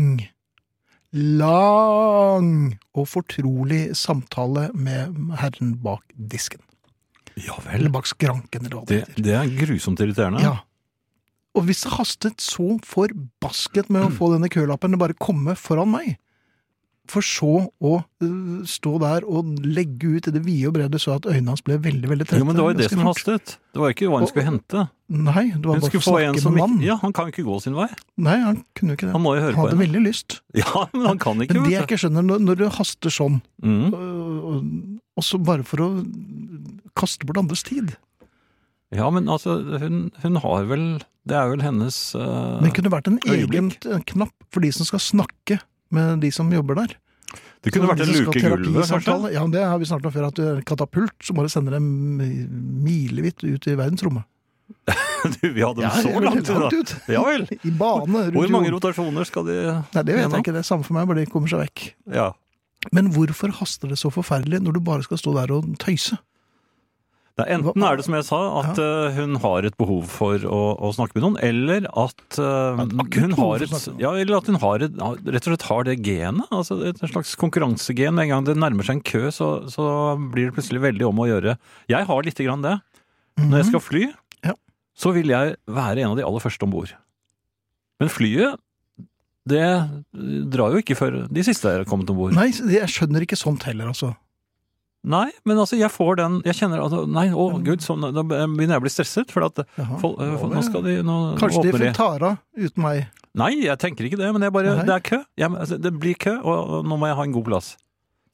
[SPEAKER 2] lang og fortrolig samtale med herren bak disken.
[SPEAKER 3] Ja
[SPEAKER 2] Eller
[SPEAKER 3] vel.
[SPEAKER 2] bak skranken, eller hva det
[SPEAKER 3] Det,
[SPEAKER 2] heter.
[SPEAKER 3] det er grusomt irriterende.
[SPEAKER 2] Ja. Og hvis det hastet så forbasket med å få denne kølappen til bare komme foran meg, For så å øh, stå der og legge ut i det vide og brede så at øynene hans ble veldig veldig tette.
[SPEAKER 3] Jo, men det var jo det
[SPEAKER 2] ganske
[SPEAKER 3] som
[SPEAKER 2] fort.
[SPEAKER 3] hastet. Det var ikke hva hun
[SPEAKER 2] Og-
[SPEAKER 3] skulle hente.
[SPEAKER 2] Nei, det var
[SPEAKER 3] Hun
[SPEAKER 2] bare
[SPEAKER 3] skulle
[SPEAKER 2] for å
[SPEAKER 3] få en
[SPEAKER 2] snakke
[SPEAKER 3] som
[SPEAKER 2] med mannen.
[SPEAKER 3] ikke Ja, han kan jo ikke gå sin vei.
[SPEAKER 2] Nei, han kunne jo ikke det.
[SPEAKER 3] Han må jo høre på
[SPEAKER 2] hadde
[SPEAKER 3] henne.
[SPEAKER 2] veldig lyst.
[SPEAKER 3] Ja, men han kan ikke,
[SPEAKER 2] Men det jeg
[SPEAKER 3] vet du.
[SPEAKER 2] ikke skjønner, når, når du haster sånn,
[SPEAKER 3] Mm.
[SPEAKER 2] øh, og, og så bare for å kaste bort andres tid
[SPEAKER 3] Ja, men altså, hun, hun har vel Det er vel hennes eh,
[SPEAKER 2] Det kunne vært en egen
[SPEAKER 3] øyeblikk.
[SPEAKER 2] t- knapp for de som skal snakke med de som jobber der.
[SPEAKER 3] Det kunne
[SPEAKER 2] Så
[SPEAKER 3] vært en
[SPEAKER 2] hvis du
[SPEAKER 3] luke i
[SPEAKER 2] skal ha
[SPEAKER 3] gulvet, kanskje?
[SPEAKER 2] liksom terapisamtale- Ja, men det har vi snart om før. At du er katapult, så må du sende dem milevidt ut i verdensrommet.
[SPEAKER 3] Du, vi hadde dem så
[SPEAKER 2] jeg vil
[SPEAKER 3] langt
[SPEAKER 2] langt
[SPEAKER 3] unna.
[SPEAKER 2] ut.
[SPEAKER 3] Ja vel.
[SPEAKER 2] I bane rundt
[SPEAKER 3] Hvor mange
[SPEAKER 2] jorden.
[SPEAKER 3] rotasjoner skal de
[SPEAKER 2] Nei, det vet
[SPEAKER 3] gjennom?
[SPEAKER 2] jeg ikke. Det er samme for meg, bare de kommer seg vekk.
[SPEAKER 3] Ja.
[SPEAKER 2] Men hvorfor haster det så forferdelig når du bare skal stå der og tøyse?
[SPEAKER 3] Det er enten er det som jeg sa, at eh, hun har et behov for å, å snakke med noen, eller at eh,
[SPEAKER 2] Et akutt
[SPEAKER 3] hun
[SPEAKER 2] behov for å
[SPEAKER 3] har et
[SPEAKER 2] snakke med noen.
[SPEAKER 3] Ja, eller at hun har et, ja, rett og slett har det genet. Altså et slags konkurransegen. Med en gang det nærmer seg en kø, så, så blir det plutselig veldig om å gjøre. Jeg har lite grann det. Når jeg skal fly,
[SPEAKER 2] Mhm. Ja.
[SPEAKER 3] så vil jeg være en av de aller første om bord. Men flyet, det eh, drar jo ikke før de siste er kommet om bord.
[SPEAKER 2] Nei, jeg skjønner ikke sånt heller, altså.
[SPEAKER 3] Nei, men altså, jeg får den Jeg kjenner altså, Nei, å gud, sånn, da begynner jeg å bli stresset. For at
[SPEAKER 2] Jaha.
[SPEAKER 3] folk, eh,
[SPEAKER 2] Nå
[SPEAKER 3] nå skal de Nå
[SPEAKER 2] Kanskje de
[SPEAKER 3] åpner de.
[SPEAKER 2] får tara uten meg.
[SPEAKER 3] Nei, jeg tenker ikke det, men jeg bare,
[SPEAKER 2] Nei.
[SPEAKER 3] det er kø. Jeg, altså, det blir kø, og og nå må jeg ha en god plass.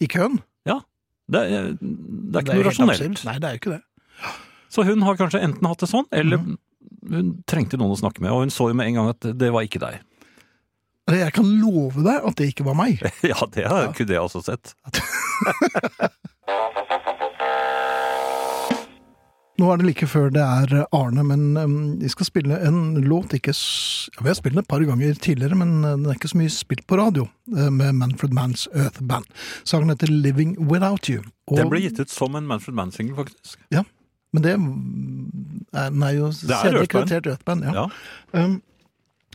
[SPEAKER 2] I køen?
[SPEAKER 3] Det, er- det er
[SPEAKER 2] jo
[SPEAKER 3] ikke noe
[SPEAKER 2] helt
[SPEAKER 3] rasjonelt.
[SPEAKER 2] absurd. Nei, det er jo ikke det.
[SPEAKER 3] Så hun har kanskje enten hatt det sånn, eller
[SPEAKER 2] Mhm.
[SPEAKER 3] hun trengte noen å snakke med. Og hun så jo med en gang at det var ikke deg.
[SPEAKER 2] Jeg kan love deg at det ikke var meg.
[SPEAKER 3] ja, det har kunne jeg også sett.
[SPEAKER 2] Nå er det like før det er Arne, men øhm, vi skal spille en låt ikke s ja, Vi har spilt den et par ganger tidligere, men øh, den er ikke så mye spilt på radio. øh, med Manfred Manns Earth Band. Sangen heter 'Living Without You'. og-
[SPEAKER 3] Den ble gitt ut som en Manfred Mann-singel, faktisk.
[SPEAKER 2] Men det mm, er, den er jo
[SPEAKER 3] er
[SPEAKER 2] senere
[SPEAKER 3] Earth Band.
[SPEAKER 2] kreditert Earth Band. Ja.
[SPEAKER 3] Ja.
[SPEAKER 2] Um,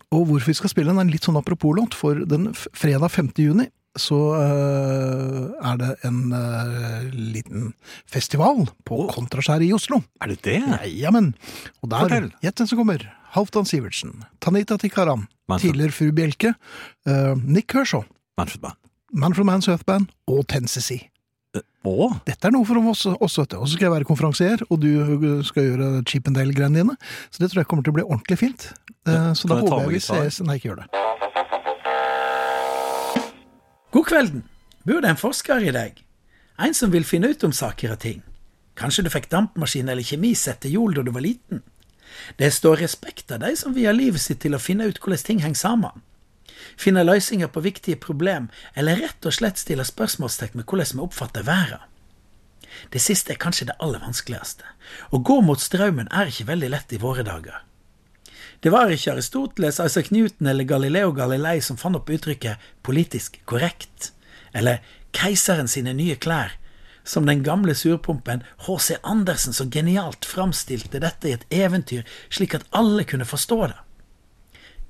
[SPEAKER 2] og hvorfor vi skal spille den, er en litt sånn apropos-låt, for den f- fredag 5. juni så øh, er det en øh, liten festival på Kontraskjæret i Oslo.
[SPEAKER 3] Er det det?
[SPEAKER 2] Nei, jamen. Og der,
[SPEAKER 3] Fortell.
[SPEAKER 2] gjett hvem som kommer. Halvdan Sivertsen, Tanita Tikaram,
[SPEAKER 3] Manfred,
[SPEAKER 2] tidligere fru Bjelke, eh, Nick Kershaw,
[SPEAKER 3] Manfred Mann.
[SPEAKER 2] Man from Man's Earth Band og Ten CC.
[SPEAKER 3] Å?
[SPEAKER 2] Dette er noe for oss også, vet du. Og så skal jeg være konferansier, og du eh, skal gjøre Chippendale-greiene dine. Så det tror jeg kommer til å bli ordentlig fint. Eh,
[SPEAKER 3] Ja,
[SPEAKER 2] så
[SPEAKER 3] kan
[SPEAKER 2] da
[SPEAKER 3] jeg ta
[SPEAKER 2] håper
[SPEAKER 3] med
[SPEAKER 2] jeg vi
[SPEAKER 3] gitar?
[SPEAKER 2] ses Nei, ikke gjør det.
[SPEAKER 5] God kvelden. Bor det en forsker i deg? En som vil finne ut om saker og ting? Kanskje du fikk dampmaskin eller kjemisett til jul da du var liten? Det står respekt av de som vier livet sitt til å finne ut hvordan ting henger sammen. Finne løsninger på viktige problem, eller rett og slett stille spørsmålstegn med hvordan vi oppfatter verden. Det siste er kanskje det aller vanskeligste. Å gå mot strømmen er ikke veldig lett i våre dager. Det var ikke Aristoteles, Isaac Newton eller Galileo Galilei som fant opp uttrykket 'politisk korrekt', eller 'keiseren sine nye klær', som den gamle surpompen H.C. Andersen så genialt framstilte dette i et eventyr, slik at alle kunne forstå det.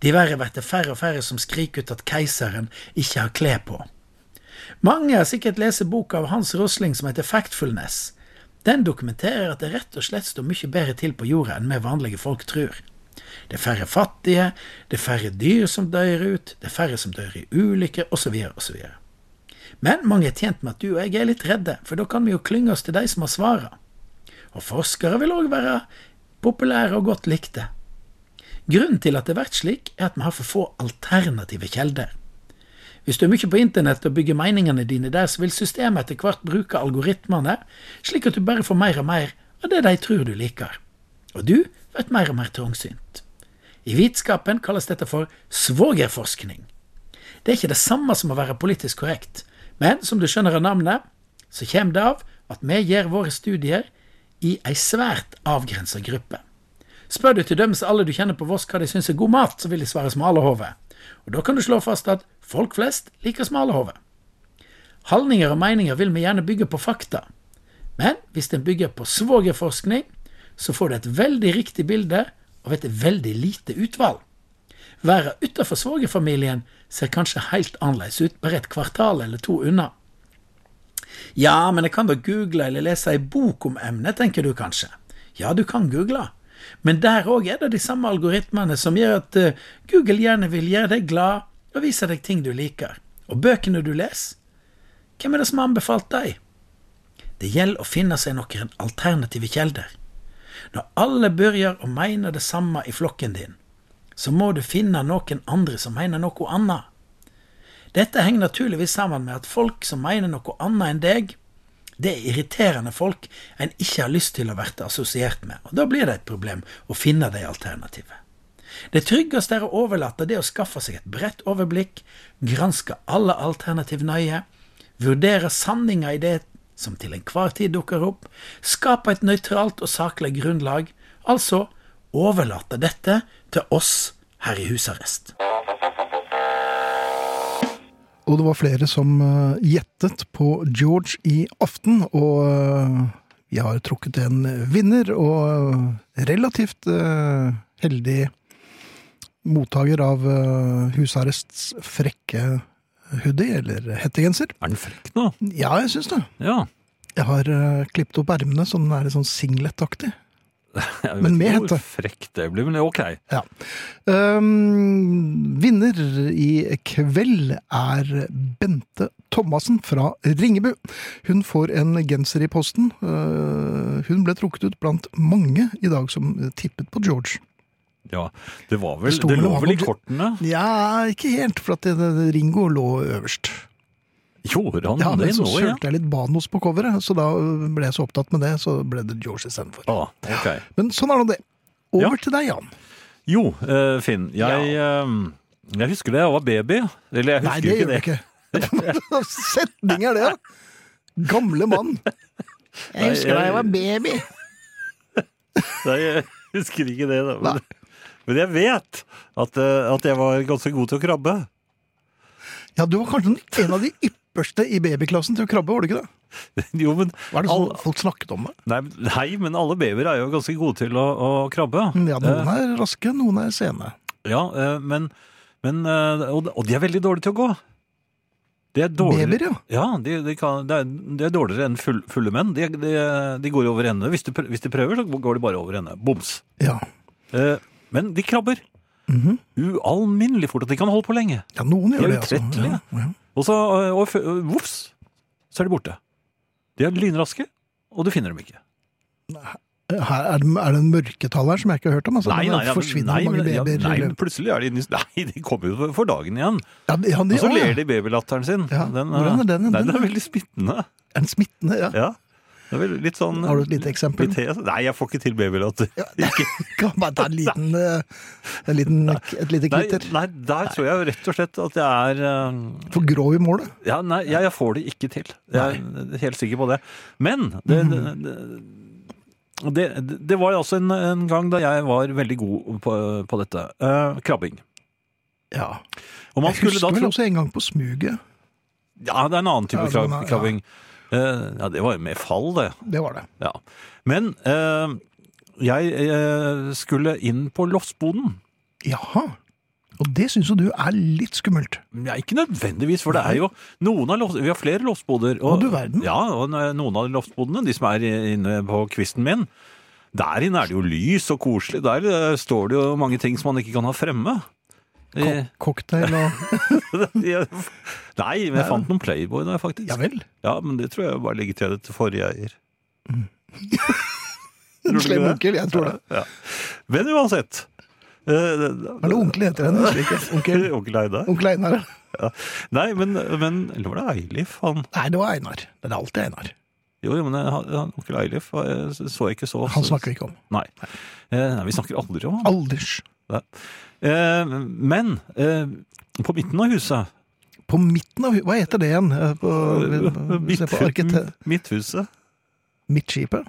[SPEAKER 5] Diverre blir det færre og færre som skriker ut at keiseren ikke har klær på. Mange har sikkert lest boka av Hans Rosling som heter Factfulness. Den dokumenterer at det rett og slett står mye bedre til på jorda enn vi vanlige folk tror. Det er færre fattige, det er færre dyr som dør ut, det er færre som dør i ulykker, osv., osv. Men mange er tjent med at du og jeg er litt redde, for da kan vi jo klynge oss til de som har svara. Og forskere vil òg være populære og godt likte. Grunnen til at det blir slik, er at vi har for få alternative kilder. Hvis du er mye på internett og bygger meningene dine der, så vil systemet etter hvert bruke algoritmene, slik at du bare får mer og mer av det de tror du liker. Og du blir mer og mer trangsynt. I vitenskapen kalles dette for svogerforskning. Det er ikke det samme som å være politisk korrekt, men som du skjønner av navnet, så kommer det av at vi gjør våre studier i ei svært avgrensa gruppe. Spør du til dømes alle du kjenner på Voss hva de syns er god mat, så vil de svare smalahove. Og da kan du slå fast at folk flest liker smalahove. Holdninger og meninger vil vi gjerne bygge på fakta. Men hvis den bygger på svogerforskning, så får du et veldig riktig bilde av et veldig lite utvalg. Verden utenfor svogerfamilien ser kanskje helt annerledes ut, bare et kvartal eller to unna. Ja, men jeg kan da google eller lese ei bok om emnet, tenker du kanskje. Ja, du kan google. Men der òg er det de samme algoritmene som gjør at eh, Google gjerne vil gjøre deg glad og vise deg ting du liker. Og bøkene du leser, hvem er det som har anbefalt deg? Det gjelder å finne seg noen alternative kjelder. Når alle begynner å mene det samme i flokken din, så må du finne noen andre som mener noe annet. Dette henger naturligvis sammen med at folk som mener noe annet enn deg, det er irriterende folk en ikke har lyst til å bli assosiert med, og da blir det et problem å finne de alternative. Det tryggeste er å overlate det å skaffe seg et bredt overblikk, granske alle alternativ nøye, vurdere sanninga i det som til enhver tid dukker opp, skape et nøytralt og saklig grunnlag, altså overlate dette til oss her i husarrest.
[SPEAKER 2] Og det var flere som eh, gjettet på George i aften, og eh, vi har trukket en vinner og eh, relativt eh, heldig mottaker av eh, husarrests frekke hoodie, eller hettegenser.
[SPEAKER 3] Er den frekk nå?
[SPEAKER 2] Ja, jeg syns det.
[SPEAKER 3] Ja.
[SPEAKER 2] Jeg har eh, klippet opp ermene, så den er litt sånn singletaktig.
[SPEAKER 3] Jeg vet
[SPEAKER 2] Men med
[SPEAKER 3] ikke hvor
[SPEAKER 2] hette.
[SPEAKER 3] Frekk det blir, men ok.
[SPEAKER 2] Ja. Ehm, vinner i kveld er Bente Thomassen fra Ringebu. Hun får en genser i posten. Eh, hun ble trukket ut blant mange i dag som tippet på George.
[SPEAKER 3] Ja, det var
[SPEAKER 2] Det
[SPEAKER 3] vel
[SPEAKER 2] sto
[SPEAKER 3] Det
[SPEAKER 2] vel
[SPEAKER 3] lå
[SPEAKER 2] om
[SPEAKER 3] vel i
[SPEAKER 2] han-
[SPEAKER 3] kortene?
[SPEAKER 2] Ja, ikke helt, for at det, det, Ringo lå øverst.
[SPEAKER 3] Gjorde han
[SPEAKER 2] Ja, men
[SPEAKER 3] det
[SPEAKER 2] så
[SPEAKER 3] nå, ja?
[SPEAKER 2] kjørte jeg litt Banos på coveret, så da ble jeg så opptatt med det, så ble det George istedenfor.
[SPEAKER 3] Ah, ok.
[SPEAKER 2] Men sånn er nå det. Over
[SPEAKER 3] Ja.
[SPEAKER 2] til deg, Jan.
[SPEAKER 3] Jo, eh, Finn. Jeg, eh, jeg husker det jeg var baby. Eller jeg husker
[SPEAKER 2] Nei, det
[SPEAKER 3] ikke
[SPEAKER 2] gjør
[SPEAKER 3] det.
[SPEAKER 2] du ikke. Setning er det, ja. Gamle mann.
[SPEAKER 3] Nei, husker da jeg var
[SPEAKER 2] baby.
[SPEAKER 3] Nei, jeg husker ikke det. Da. Men, men jeg vet at, eh, at jeg var ganske god til å krabbe.
[SPEAKER 2] Ja, du var kanskje den- en av de ypperste i babyklassen til å krabbe, var du ikke det?
[SPEAKER 3] Jo, men,
[SPEAKER 2] Var det sånn
[SPEAKER 3] alle-
[SPEAKER 2] folk snakket om det?
[SPEAKER 3] nei, men- nei, men alle babyer er jo ganske gode til å, å krabbe.
[SPEAKER 2] Mm, Ja, noen er raske, noen er sene.
[SPEAKER 3] Eh, ja, eh, men, men eh, og, og de er veldig dårlige til å gå. De er dårligere
[SPEAKER 2] Babyer, ja.
[SPEAKER 3] Ja, de, de, kan, de, er, de er dårligere enn full, fulle menn. De, de, de går over ende. Hvis de, prø- hvis de prøver, så går de bare over ende. Boms.
[SPEAKER 2] Ja. Mhm.
[SPEAKER 3] Eh, men de krabber. Ualminnelig fort. At de kan holde på lenge.
[SPEAKER 2] ja, noen
[SPEAKER 3] De
[SPEAKER 2] gjør
[SPEAKER 3] er
[SPEAKER 2] det, altså.
[SPEAKER 3] utrettelige.
[SPEAKER 2] Ja, ja.
[SPEAKER 3] Og så, eh, og, fø- eh, voffs, så er de borte. De er lynraske, og du finner dem ikke.
[SPEAKER 2] Her er, det, er det en mørketall her som jeg ikke har hørt om? Altså, Det
[SPEAKER 3] ja, men-
[SPEAKER 2] forsvinner
[SPEAKER 3] nei,
[SPEAKER 2] mange
[SPEAKER 3] men- ja,
[SPEAKER 2] babyer.
[SPEAKER 3] nei,
[SPEAKER 2] eller-
[SPEAKER 3] men plutselig er de inne i- Nei, de kommer jo for dagen igjen.
[SPEAKER 2] Ja, de- ja, de-
[SPEAKER 3] Og så
[SPEAKER 2] å, ja.
[SPEAKER 3] Altså, ler de babylatteren sin.
[SPEAKER 2] Ja, hvordan er den?
[SPEAKER 3] Nei,
[SPEAKER 2] Den
[SPEAKER 3] den er
[SPEAKER 2] er-
[SPEAKER 3] veldig smittende.
[SPEAKER 2] Er den smittende? Ja.
[SPEAKER 3] Ja. Det er vel litt sånn
[SPEAKER 2] Har du et lite eksempel?
[SPEAKER 3] Litt hes. Nei, jeg får ikke til babylatter.
[SPEAKER 2] Kan bare ta en liten, eh, en liten, et lite
[SPEAKER 3] Nei,
[SPEAKER 2] kvitter.
[SPEAKER 3] nei, der tror jeg jo rett og slett at jeg er eh,
[SPEAKER 2] For grå i målet.
[SPEAKER 3] Ja, nei, jeg, jeg får det ikke til. Jeg er helt sikker på det. Men det,
[SPEAKER 2] Mhm.
[SPEAKER 3] det, det, det var jo altså en, en gang da jeg var veldig god på, på dette. eh, krabbing.
[SPEAKER 2] Ja.
[SPEAKER 3] Og man
[SPEAKER 2] Jeg
[SPEAKER 3] skulle da
[SPEAKER 2] husker vel
[SPEAKER 3] tro
[SPEAKER 2] også en gang på smuget.
[SPEAKER 3] Ja, det er en annen type
[SPEAKER 2] Ja, det var en
[SPEAKER 3] krab,
[SPEAKER 2] annen, ja.
[SPEAKER 3] krabbing. Eh, ja, det var jo med fall, det.
[SPEAKER 2] Det var det.
[SPEAKER 3] Ja. Men eh, jeg eh, skulle inn på lossboden.
[SPEAKER 2] Jaha. Og det syns jo du er litt skummelt.
[SPEAKER 3] Ja, ikke nødvendigvis, for det er jo noen av loss, Vi har flere lossboder.
[SPEAKER 2] Å, du verden.
[SPEAKER 3] Ja, og noen av lossbodene, de som er inne på kvisten min, der inne er det jo lys og koselig. Der eh, står det jo mange ting som man ikke kan ha fremme.
[SPEAKER 2] Ko
[SPEAKER 3] Eh,
[SPEAKER 2] cocktail og
[SPEAKER 3] jeg- Nei, men jeg fant noen Playboy der, faktisk.
[SPEAKER 2] Ja vel.
[SPEAKER 3] Ja, men det tror jeg bare legger til det til forrige eier.
[SPEAKER 2] En
[SPEAKER 3] du
[SPEAKER 2] Mm. slem
[SPEAKER 3] ikke det?
[SPEAKER 2] onkel, jeg tror det.
[SPEAKER 3] Men uansett eh,
[SPEAKER 2] Er det onkel heter henne? husker jeg ikke. Onkel,
[SPEAKER 3] Onkel Einar?
[SPEAKER 2] onkel Einar, ja.
[SPEAKER 3] Nei, men, men Eller var det Eilif? Han
[SPEAKER 2] Nei, det var Einar. Det er alltid Einar.
[SPEAKER 3] Jo, jo, men eh, han, han- onkel Eilif eh, så jeg ikke så
[SPEAKER 2] Han snakker vi ikke om.
[SPEAKER 3] Nei. Eh, nei, vi snakker aldri om han.
[SPEAKER 2] Alders.
[SPEAKER 3] Nei. Eh, men eh, på midten av huset
[SPEAKER 2] På midten av hu- Hva heter det igjen? Eh, På,
[SPEAKER 3] Midt-
[SPEAKER 2] se på arkite-
[SPEAKER 3] Midthuset?
[SPEAKER 2] Midtskipet?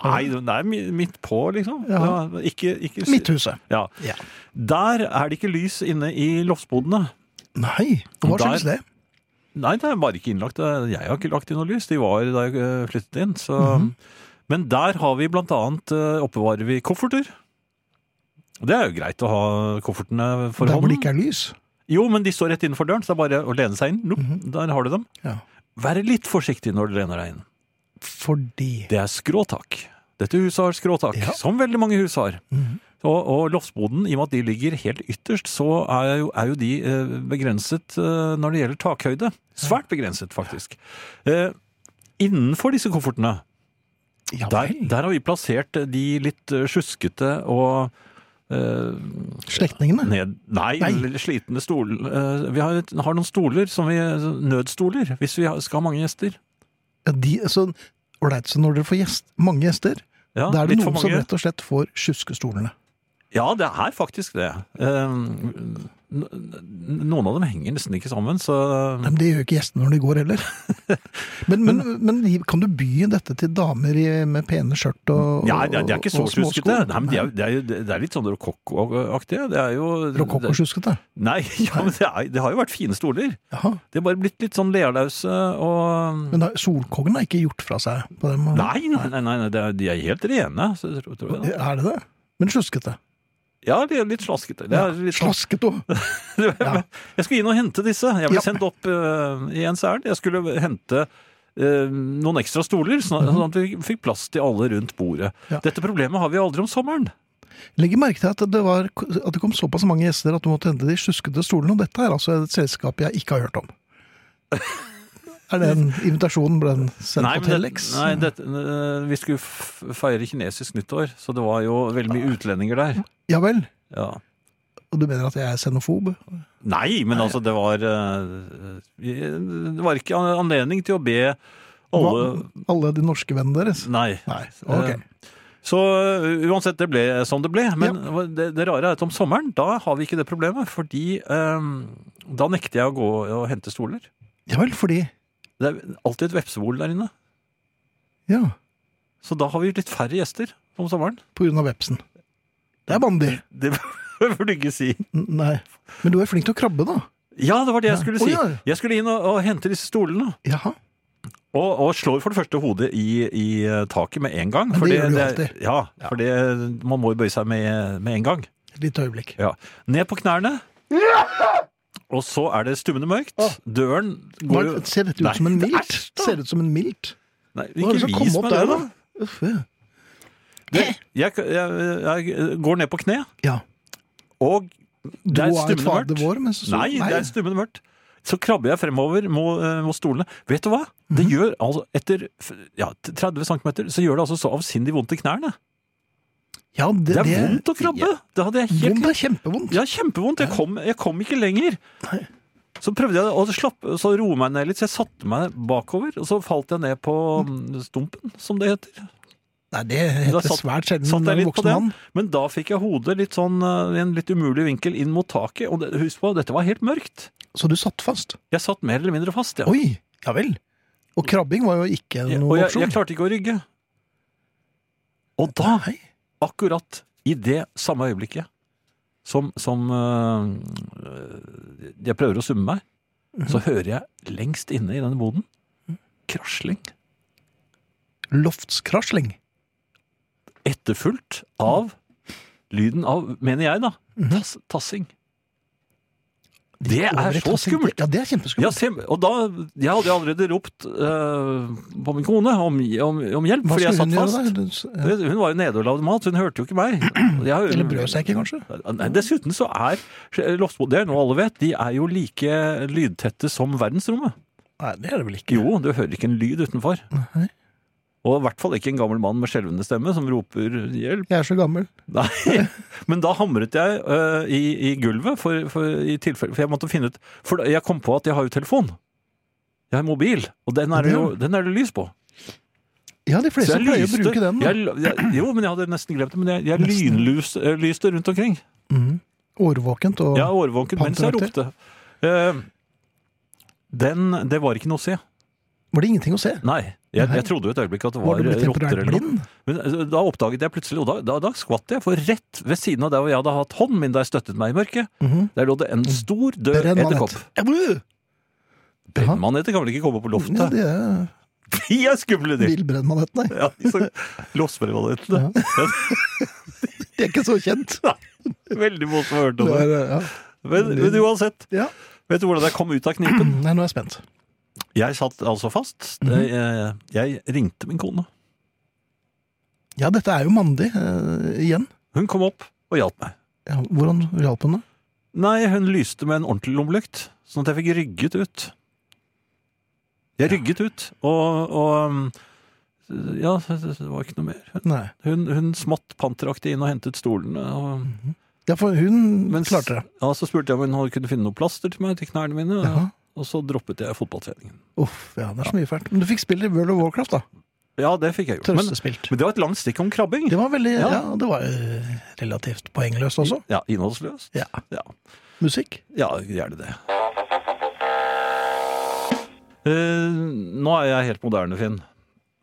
[SPEAKER 3] Nei, det er mi- midt på, liksom.
[SPEAKER 2] Ja.
[SPEAKER 3] Ja, ikke, ikke,
[SPEAKER 2] Midthuset.
[SPEAKER 3] Ja.
[SPEAKER 2] Ja.
[SPEAKER 3] Der er det ikke lys inne i loftbodene.
[SPEAKER 2] Nei, hva
[SPEAKER 3] Der-
[SPEAKER 2] skyldes det?
[SPEAKER 3] Nei, det er bare ikke innlagt. Jeg har ikke lagt inn noe lys. De var da jeg eh, flyttet inn. Så.
[SPEAKER 2] Mhm.
[SPEAKER 3] Men der har vi blant annet eh, oppbevarer vi kofferter. Det er jo greit å ha koffertene for
[SPEAKER 2] Der hvor
[SPEAKER 3] hånden.
[SPEAKER 2] det ikke er Mhm. lys?
[SPEAKER 3] Jo, men de står rett innenfor døren, så det er bare å lene seg inn. Nopp, Der har du dem.
[SPEAKER 2] Ja.
[SPEAKER 3] Vær litt forsiktig når du lener deg inn.
[SPEAKER 2] Fordi
[SPEAKER 3] Det er skråtak. Dette huset har skråtak,
[SPEAKER 2] Ja. Mhm.
[SPEAKER 3] som veldig mange hus har. Og, og Lofsboden, i og med at de ligger helt ytterst, så er jo, er jo de eh, begrenset eh, når det gjelder takhøyde. Svært begrenset, faktisk. Eh, Innenfor disse koffertene,
[SPEAKER 2] Ja,
[SPEAKER 3] der,
[SPEAKER 2] vel.
[SPEAKER 3] der har vi plassert eh, de litt eh, sjuskete og eh,
[SPEAKER 2] Slektningene.
[SPEAKER 3] ned, nei,
[SPEAKER 2] Nei.
[SPEAKER 3] eller slitne stol. eh, vi har, et- har noen stoler, som vi, eh, nødstoler, hvis vi har- skal ha mange gjester.
[SPEAKER 2] Ja, de, så, ålreit, så når dere får gjest, mange gjester,
[SPEAKER 3] Ja,
[SPEAKER 2] da er det
[SPEAKER 3] litt for
[SPEAKER 2] noen som
[SPEAKER 3] mange.
[SPEAKER 2] rett og slett får sjuskestolene.
[SPEAKER 3] Ja, det er faktisk det. Eh, n- n- noen av dem henger nesten ikke sammen, så
[SPEAKER 2] Nei, men Det gjør ikke gjestene når de går heller. Men, men, men de- kan du by dette til damer i, med pene skjørt og,
[SPEAKER 3] Ja, det, er- det er ikke så
[SPEAKER 2] og småsko?
[SPEAKER 3] sjuskete. Nei, men det er, jo- det, er, jo- det er litt sånn rokokko-aktig. Det er jo
[SPEAKER 2] Rokokkosjuskete?
[SPEAKER 3] Nei, ja, men det, er, det har jo vært fine stoler.
[SPEAKER 2] Jaha.
[SPEAKER 3] De har bare blitt litt sånn lealause og
[SPEAKER 2] Men da, Solkongen har ikke gjort fra seg på den måten?
[SPEAKER 3] Nei, nei, nei, nei det er, de er helt rene. Så, tror, tror jeg. da.
[SPEAKER 2] Er det det? Men sjuskete?
[SPEAKER 3] Ja, de er litt slaskete. Det er litt sånn-
[SPEAKER 2] Slaskete òg! ja.
[SPEAKER 3] Jeg skulle inn og hente disse. Jeg
[SPEAKER 2] Ja.
[SPEAKER 3] ble sendt opp eh, i en særn. Jeg skulle hente eh, noen ekstra stoler, sånn at- sånn at vi fikk plass til alle rundt bordet.
[SPEAKER 2] Mhm. Ja.
[SPEAKER 3] Dette problemet har vi aldri om sommeren.
[SPEAKER 2] Legg merke til at det, var, at det kom såpass mange gjester at du måtte hente de sjuskete stolene. Og dette er altså et selskap jeg ikke har hørt om. Er det en invitasjon? Ble den sendt
[SPEAKER 3] Nei,
[SPEAKER 2] på
[SPEAKER 3] men det,
[SPEAKER 2] Telex?
[SPEAKER 3] nei dette- eh, vi skulle f- feire kinesisk nyttår, så det var jo veldig mye utlendinger der.
[SPEAKER 2] Ja vel?
[SPEAKER 3] Ja.
[SPEAKER 2] Og du mener at jeg er xenofob?
[SPEAKER 3] Nei, men altså, det var eh, vi- Det var ikke an- anledning til å be alle
[SPEAKER 2] Hva- alle de norske vennene deres?
[SPEAKER 3] Nei.
[SPEAKER 2] Nei, ok.
[SPEAKER 3] Eh, Så eh, uansett, det ble som det ble. Men det, det rare er at om sommeren, da har vi ikke det problemet. Fordi eh, da nekter jeg å gå og hente stoler.
[SPEAKER 2] Ja vel, fordi
[SPEAKER 3] Det er alltid et vepsebol der inne.
[SPEAKER 2] Ja,
[SPEAKER 3] Så da har vi litt færre gjester om sommeren.
[SPEAKER 2] på grunn av vepsen. Det er bandig.
[SPEAKER 3] Det burde du ikke si.
[SPEAKER 2] N- Nei. Men du er flink til å krabbe, da.
[SPEAKER 3] Ja, det var det jeg
[SPEAKER 2] Ja.
[SPEAKER 3] skulle
[SPEAKER 2] Å,
[SPEAKER 3] si.
[SPEAKER 2] ja.
[SPEAKER 3] Jeg skulle inn og, og hente disse stolene.
[SPEAKER 2] Jaha.
[SPEAKER 3] Og, og slår for det første hodet i, i eh, taket med en gang.
[SPEAKER 2] Men det
[SPEAKER 3] fordi
[SPEAKER 2] gjør du
[SPEAKER 3] er-
[SPEAKER 2] alltid.
[SPEAKER 3] Ja, for det, man må jo bøye seg med, med en gang.
[SPEAKER 2] Et lite øyeblikk.
[SPEAKER 3] Ja. Ned på knærne. Og så er det stummende mørkt. Døren går jo
[SPEAKER 2] Nå ser dette ut
[SPEAKER 3] Nei,
[SPEAKER 2] som en
[SPEAKER 3] det er
[SPEAKER 2] milt?
[SPEAKER 3] æsj, da.
[SPEAKER 2] Ser det ut som en milt?
[SPEAKER 3] Nei,
[SPEAKER 2] Hva er det
[SPEAKER 3] ikke
[SPEAKER 2] som kom
[SPEAKER 3] vis
[SPEAKER 2] opp
[SPEAKER 3] meg
[SPEAKER 2] der,
[SPEAKER 3] det, da.
[SPEAKER 2] da? Uff, ja.
[SPEAKER 3] Jeg, jeg, jeg går ned på kne,
[SPEAKER 2] ja.
[SPEAKER 3] og
[SPEAKER 2] Du
[SPEAKER 3] det
[SPEAKER 2] er
[SPEAKER 3] er
[SPEAKER 2] et
[SPEAKER 3] stummende mørkt.
[SPEAKER 2] fader vår, men så så-
[SPEAKER 3] Nei, det er stummende mørkt. Så krabber jeg fremover mot, eh, mot stolene. Vet du hva? Det
[SPEAKER 2] Mhm.
[SPEAKER 3] gjør altså Etter f- ja, 30 cm så gjør det altså så avsindig vondt i knærne.
[SPEAKER 2] ja, det,
[SPEAKER 3] Det er
[SPEAKER 2] det er
[SPEAKER 3] vondt å krabbe! Det hadde jeg
[SPEAKER 2] vondt.
[SPEAKER 3] helt
[SPEAKER 2] Det er kjempevondt.
[SPEAKER 3] Ja, kjempevondt. Jeg kom, jeg kom ikke lenger. Så prøvde jeg å slappe, så roe meg ned litt, så jeg satte meg bakover, og så falt jeg ned på mm, stumpen, som det heter.
[SPEAKER 2] Nei, det
[SPEAKER 3] Da
[SPEAKER 2] heter
[SPEAKER 3] satt-
[SPEAKER 2] svært
[SPEAKER 3] satt
[SPEAKER 2] sjelden
[SPEAKER 3] jeg
[SPEAKER 2] en
[SPEAKER 3] litt på
[SPEAKER 2] voksen
[SPEAKER 3] den.
[SPEAKER 2] mann.
[SPEAKER 3] Men da fikk jeg hodet litt sånn eh, i en litt umulig vinkel inn mot taket, og det, husk på, dette var helt mørkt.
[SPEAKER 2] Så du satt fast?
[SPEAKER 3] Jeg satt mer eller mindre fast, ja.
[SPEAKER 2] Oi, ja vel. Og krabbing var jo ikke
[SPEAKER 3] Ja,
[SPEAKER 2] noen
[SPEAKER 3] og jeg,
[SPEAKER 2] opsjon.
[SPEAKER 3] jeg klarte ikke å rygge. Og da, akkurat i det samme øyeblikket som, som øh, jeg prøver å summe meg,
[SPEAKER 2] Mhm.
[SPEAKER 3] så hører jeg lengst inne i denne boden krasling,
[SPEAKER 2] Loftskrasling.
[SPEAKER 3] etterfulgt av lyden av, mener jeg da,
[SPEAKER 2] Mhm.
[SPEAKER 3] tass, tassing. Det er så
[SPEAKER 2] Overetassing.
[SPEAKER 3] skummelt!
[SPEAKER 2] Ja, det er
[SPEAKER 3] Ja,
[SPEAKER 2] kjempeskummelt.
[SPEAKER 3] se, og da, jeg hadde allerede ropt øh, på min kone om, om, om hjelp,
[SPEAKER 2] Hva
[SPEAKER 3] fordi jeg
[SPEAKER 2] skulle hun
[SPEAKER 3] satt fast.
[SPEAKER 2] gjøre da? Du- ja.
[SPEAKER 3] Vet du, Hun var jo nede og lagde mat, så hun hørte jo ikke meg. Og jeg-
[SPEAKER 2] Eller brød seg ikke, kanskje?
[SPEAKER 3] Nei, Dessuten så er Lofsbo, det er noe alle vet, de er jo like lydtette som verdensrommet.
[SPEAKER 2] Nei, det er det vel ikke.
[SPEAKER 3] Jo, du hører ikke en lyd utenfor.
[SPEAKER 2] Nei.
[SPEAKER 3] Og i hvert fall ikke en gammel mann med skjelvende stemme som roper 'hjelp'.
[SPEAKER 2] Jeg er så gammel.
[SPEAKER 3] Nei. Men da hamret jeg øh, i, i gulvet, for, for, i tilfelle, for jeg måtte finne ut For da- jeg kom på at jeg har jo telefon. Jeg har mobil, og den er det jo den er det lys på.
[SPEAKER 2] Ja, de fleste
[SPEAKER 3] Så jeg
[SPEAKER 2] pleier å
[SPEAKER 3] lyste-
[SPEAKER 2] bruke den. da.
[SPEAKER 3] Jeg, jeg, jo, men jeg hadde nesten glemt det. Men jeg, jeg
[SPEAKER 2] Nesten.
[SPEAKER 3] lynlyste eh, lyste rundt omkring.
[SPEAKER 2] Mhm. Årvåkent og
[SPEAKER 3] Jeg er årvåken mens jeg
[SPEAKER 2] Panteraktig.
[SPEAKER 3] ropte. Eh, den, det var ikke noe å se.
[SPEAKER 2] Var det ingenting å se?
[SPEAKER 3] Nei. Jeg,
[SPEAKER 2] Nei.
[SPEAKER 3] jeg trodde jo et øyeblikk at det
[SPEAKER 2] Var
[SPEAKER 3] var,
[SPEAKER 2] du blitt
[SPEAKER 3] eh, rotter
[SPEAKER 2] temporært
[SPEAKER 3] eller noe.
[SPEAKER 2] blind?
[SPEAKER 3] Men eh, da oppdaget jeg plutselig, og da, da, da skvatt jeg, for rett ved siden av der hvor jeg hadde hatt hånden min da jeg støttet meg i mørket,
[SPEAKER 2] Mhm.
[SPEAKER 3] der lå det en stor, død edderkopp.
[SPEAKER 2] Brennmanet. Ja, blu!
[SPEAKER 3] Brennmaneter kan vel ikke komme på
[SPEAKER 2] Ja,
[SPEAKER 3] loftet?
[SPEAKER 2] det er
[SPEAKER 3] De er skumle, de!
[SPEAKER 2] villbrennmanet, nei.
[SPEAKER 3] Ja, de som- Lossbrennmanetene.
[SPEAKER 2] De er ikke så kjent.
[SPEAKER 3] Veldig mot som har hørt
[SPEAKER 2] Det
[SPEAKER 3] om
[SPEAKER 2] er,
[SPEAKER 3] det. Men, men uansett,
[SPEAKER 2] ja. Ja.
[SPEAKER 3] vet du hvordan jeg kom ut av knipen?
[SPEAKER 2] Nei, nå er jeg spent.
[SPEAKER 3] Jeg satt altså fast.
[SPEAKER 2] Mhm.
[SPEAKER 3] Jeg, jeg ringte min kone.
[SPEAKER 2] Ja, dette er jo mandig eh, igjen.
[SPEAKER 3] Hun kom opp. og hjalp meg.
[SPEAKER 2] Ja, hvordan hjalp hun deg?
[SPEAKER 3] Nei, hun lyste med en ordentlig lommelykt, sånn at jeg fikk rygget ut. Jeg rygget ut, og, og um, Ja, det det var ikke noe mer.
[SPEAKER 2] Nei.
[SPEAKER 3] Hun, hun smått panteraktig inn og hentet stolene. Og,
[SPEAKER 2] Ja, for hun
[SPEAKER 3] mens-
[SPEAKER 2] klarte det.
[SPEAKER 3] Ja, Så spurte jeg om hun kunne finne noe plaster til meg til knærne mine, og,
[SPEAKER 2] Ja.
[SPEAKER 3] og så droppet jeg fotballtreningen.
[SPEAKER 2] Uff, ja, det er så mye fælt. Men du fikk spille i World of Warcraft, da.
[SPEAKER 3] Ja, det fikk jeg gjort. Men,
[SPEAKER 2] Trøstespilt.
[SPEAKER 3] men det var et langt stikk om krabbing.
[SPEAKER 2] Det var veldig,
[SPEAKER 3] Ja.
[SPEAKER 2] ja, det var eh, relativt poengløst også.
[SPEAKER 3] Ja, Innholdsløst.
[SPEAKER 2] Ja.
[SPEAKER 3] Ja.
[SPEAKER 2] Musikk.
[SPEAKER 3] Ja, gjerne det. Eh, nå er jeg helt moderne, Finn.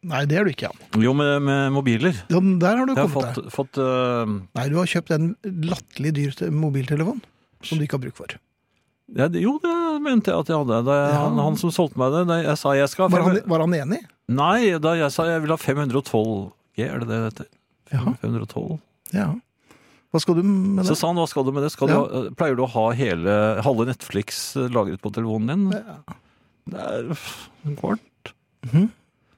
[SPEAKER 2] Nei, det er du ikke, Jan.
[SPEAKER 3] Jo, med, med mobiler.
[SPEAKER 2] Ja, men der har du
[SPEAKER 3] Jeg har
[SPEAKER 2] kommet
[SPEAKER 3] fått,
[SPEAKER 2] deg.
[SPEAKER 3] fått eh,
[SPEAKER 2] Nei, du har kjøpt en latterlig dyr te- mobiltelefon som du ikke har bruk for.
[SPEAKER 3] ja, det- Jo, det mente jeg at jeg hadde. Da jeg,
[SPEAKER 2] Ja.
[SPEAKER 3] han, han som solgte meg det, da jeg sa jeg skal ha
[SPEAKER 2] Var han,
[SPEAKER 3] fem-
[SPEAKER 2] var han enig?
[SPEAKER 3] Nei, da jeg sa jeg vil ha 512 G, er det det det heter?
[SPEAKER 2] Jaha.
[SPEAKER 3] 512.
[SPEAKER 2] Ja. Hva skal du med
[SPEAKER 3] Så
[SPEAKER 2] det?
[SPEAKER 3] sa han, hva skal du med det? Skal
[SPEAKER 2] Ja.
[SPEAKER 3] du ha, eh, pleier du å ha hele, halve Netflix eh, lagret på telefonen din? Det er uff, en kvart.
[SPEAKER 2] Mhm.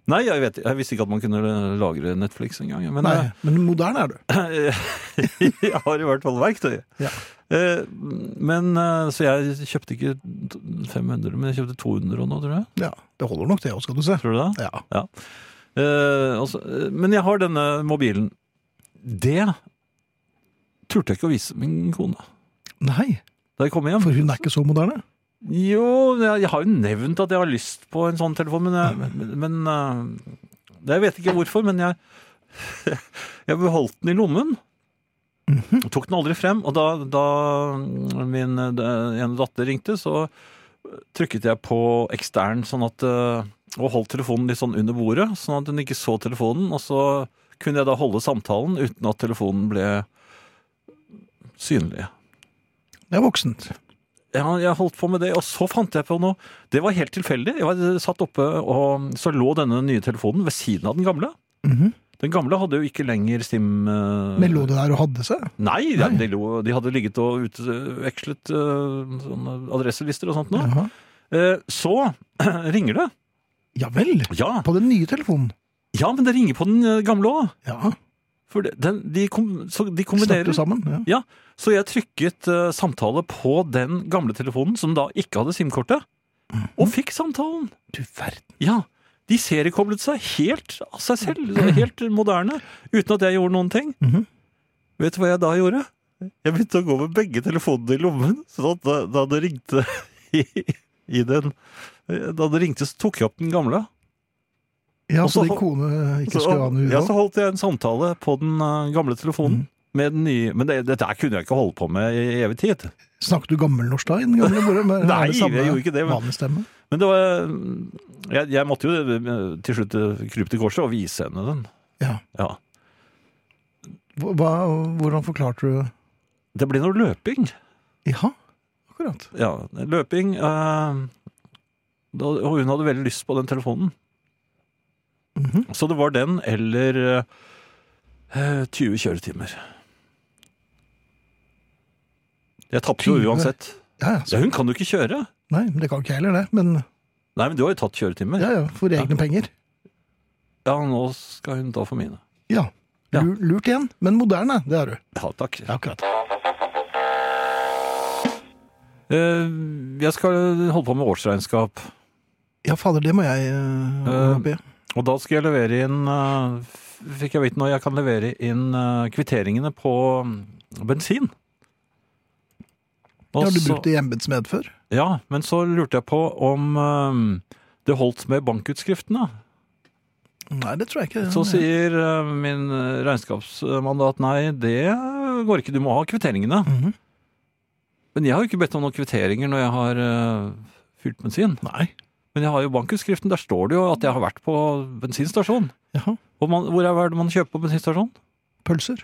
[SPEAKER 3] Nei, jeg, vet, jeg visste ikke at man kunne lagre Netflix engang. Men eh,
[SPEAKER 2] Nei, men moderne er du.
[SPEAKER 3] jeg, jeg har i hvert fall verktøy.
[SPEAKER 2] Ja.
[SPEAKER 3] Eh, men, eh, så jeg kjøpte ikke 500, men jeg kjøpte 200 nå, tror jeg.
[SPEAKER 2] Ja, Det holder nok det òg, skal du se.
[SPEAKER 3] Tror du det?
[SPEAKER 2] Ja.
[SPEAKER 3] Eh, altså, eh, men jeg har denne mobilen. Det turte jeg ikke å vise min kone
[SPEAKER 2] Nei,
[SPEAKER 3] da jeg kom hjem.
[SPEAKER 2] for hun er ikke så moderne.
[SPEAKER 3] Jo, jeg, jeg har jo nevnt at jeg har lyst på en sånn telefon, men jeg, men, eh, Jeg vet ikke hvorfor, men jeg, jeg beholdt den i lommen. Tok den aldri frem, og da, da min eh, ene datter ringte, så trykket jeg på ekstern sånn at, eh, og holdt telefonen litt sånn under bordet, sånn at hun ikke så telefonen. Og så kunne jeg da holde samtalen uten at telefonen ble synlig.
[SPEAKER 2] Det er voksent.
[SPEAKER 3] Ja, jeg holdt på med det, og så fant jeg på noe. Det var helt tilfeldig. Jeg var eh, satt oppe, og så lå denne nye telefonen ved siden av den gamle.
[SPEAKER 2] Mhm.
[SPEAKER 3] Den gamle hadde jo ikke lenger SIM... eh,
[SPEAKER 2] Men lå det der og hadde seg?
[SPEAKER 3] Nei, ja, De, lå, de hadde ligget og utvekslet eh, sånne adresselister og sånt nå.
[SPEAKER 2] Jaha.
[SPEAKER 3] Eh, så ringer det.
[SPEAKER 2] Ja vel!
[SPEAKER 3] Ja.
[SPEAKER 2] På den nye telefonen.
[SPEAKER 3] ja, men det ringer på den eh, gamle òg.
[SPEAKER 2] Ja,
[SPEAKER 3] For det- den, de, kom, så de kombinerer.
[SPEAKER 2] Snakker sammen. Ja.
[SPEAKER 3] Ja, så jeg trykket eh, samtale på den gamle telefonen, som da ikke hadde SIM-kortet,
[SPEAKER 2] Mm.
[SPEAKER 3] og fikk samtalen.
[SPEAKER 2] Du verden.
[SPEAKER 3] Ja, de seriekoblet seg helt av seg selv, helt moderne, uten at jeg gjorde noen ting.
[SPEAKER 2] Mhm.
[SPEAKER 3] Vet du hva jeg da gjorde? Jeg begynte å gå med begge telefonene i lommen, så at da, da det ringte i, i den Da det ringte, så tok jeg opp den gamle.
[SPEAKER 2] Ja,
[SPEAKER 3] Og
[SPEAKER 2] så
[SPEAKER 3] så
[SPEAKER 2] din
[SPEAKER 3] hol-
[SPEAKER 2] kone ikke
[SPEAKER 3] Så,
[SPEAKER 2] skulle ha noe
[SPEAKER 3] ja, så
[SPEAKER 2] uro.
[SPEAKER 3] holdt jeg en samtale på den eh, gamle
[SPEAKER 2] Mhm.
[SPEAKER 3] telefonen. Med den nye, men det, dette her kunne jeg ikke holde på med i evig tid.
[SPEAKER 2] Snakket du gammelnorsk da? i den gamle bordet? Med-
[SPEAKER 3] Nei,
[SPEAKER 2] med samme
[SPEAKER 3] jeg gjorde ikke det, men-
[SPEAKER 2] vanlige stemme?
[SPEAKER 3] Men det var Jeg, jeg måtte jo eh, til slutt eh, krype til korset og vise henne den.
[SPEAKER 2] Ja.
[SPEAKER 3] Ja.
[SPEAKER 2] Hva, hvordan forklarte du
[SPEAKER 3] Det ble noe løping.
[SPEAKER 2] Ja, akkurat.
[SPEAKER 3] Ja, løping. eh, da, og hun hadde veldig lyst på den telefonen. Så det var den eller eh, 20 kjøretimer. Jeg tapte jo
[SPEAKER 2] 20?
[SPEAKER 3] uansett.
[SPEAKER 2] Ja, ja.
[SPEAKER 3] Ja,
[SPEAKER 2] Så,
[SPEAKER 3] hun kan jo ikke kjøre.
[SPEAKER 2] nei, men det kan ikke jeg heller, det. Men
[SPEAKER 3] Nei, men du har jo tatt kjøretimer.
[SPEAKER 2] ja, ja, for egne penger.
[SPEAKER 3] Ja, nå skal hun ta for mine.
[SPEAKER 2] Ja.
[SPEAKER 3] Ja.
[SPEAKER 2] Lur- Lurt igjen, men moderne, det er du.
[SPEAKER 3] Ja, takk.
[SPEAKER 2] Ja, akkurat.
[SPEAKER 3] Eh, jeg skal holde på med årsregnskap.
[SPEAKER 2] Ja, fader, det må jeg uh,
[SPEAKER 3] Eh,
[SPEAKER 2] opp i.
[SPEAKER 3] Og da skal jeg levere inn eh, f- Fikk jeg vite nå, jeg kan levere inn eh, kvitteringene på mm, bensin. Og
[SPEAKER 2] Har du
[SPEAKER 3] så-
[SPEAKER 2] brukt det i embetsmed før?
[SPEAKER 3] Ja, men så lurte jeg på om eh, det holdt med bankutskriftene.
[SPEAKER 2] Nei, det tror jeg ikke.
[SPEAKER 3] Så sier eh, min regnskapsmann da at nei, det går ikke, du må ha kvitteringene.
[SPEAKER 2] Mhm.
[SPEAKER 3] Men jeg har jo ikke bedt om noen kvitteringer når jeg har eh, fylt bensin.
[SPEAKER 2] Nei.
[SPEAKER 3] Men jeg har jo bankutskriften, der står det jo at jeg har vært på bensinstasjon.
[SPEAKER 2] Jaha.
[SPEAKER 3] Og man, hvor er hva er det man kjøper på bensinstasjon?
[SPEAKER 2] Pølser?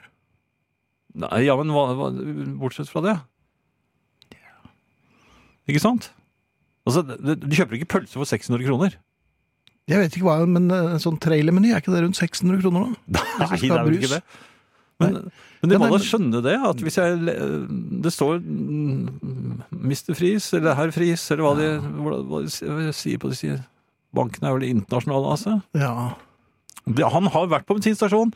[SPEAKER 3] Nei, ja, men hva, hva, bortsett fra det. Ikke sant? Altså, du, du kjøper ikke pølse for 600 kroner.
[SPEAKER 2] Jeg vet ikke hva, men eh, en sånn trailermeny, er ikke det rundt 600 kroner nå?
[SPEAKER 3] Nei,
[SPEAKER 2] skal ha brus.
[SPEAKER 3] Men, men de
[SPEAKER 2] Ja,
[SPEAKER 3] må
[SPEAKER 2] nei,
[SPEAKER 3] da
[SPEAKER 2] men-
[SPEAKER 3] skjønne det, at hvis jeg le- Det står mm, Mr. Friis eller Herr Friis, eller hva de, hva de, hva de sier på de sier. Bankene er vel internasjonale, altså?
[SPEAKER 2] Ja.
[SPEAKER 3] Det- Han har vært på bensinstasjon,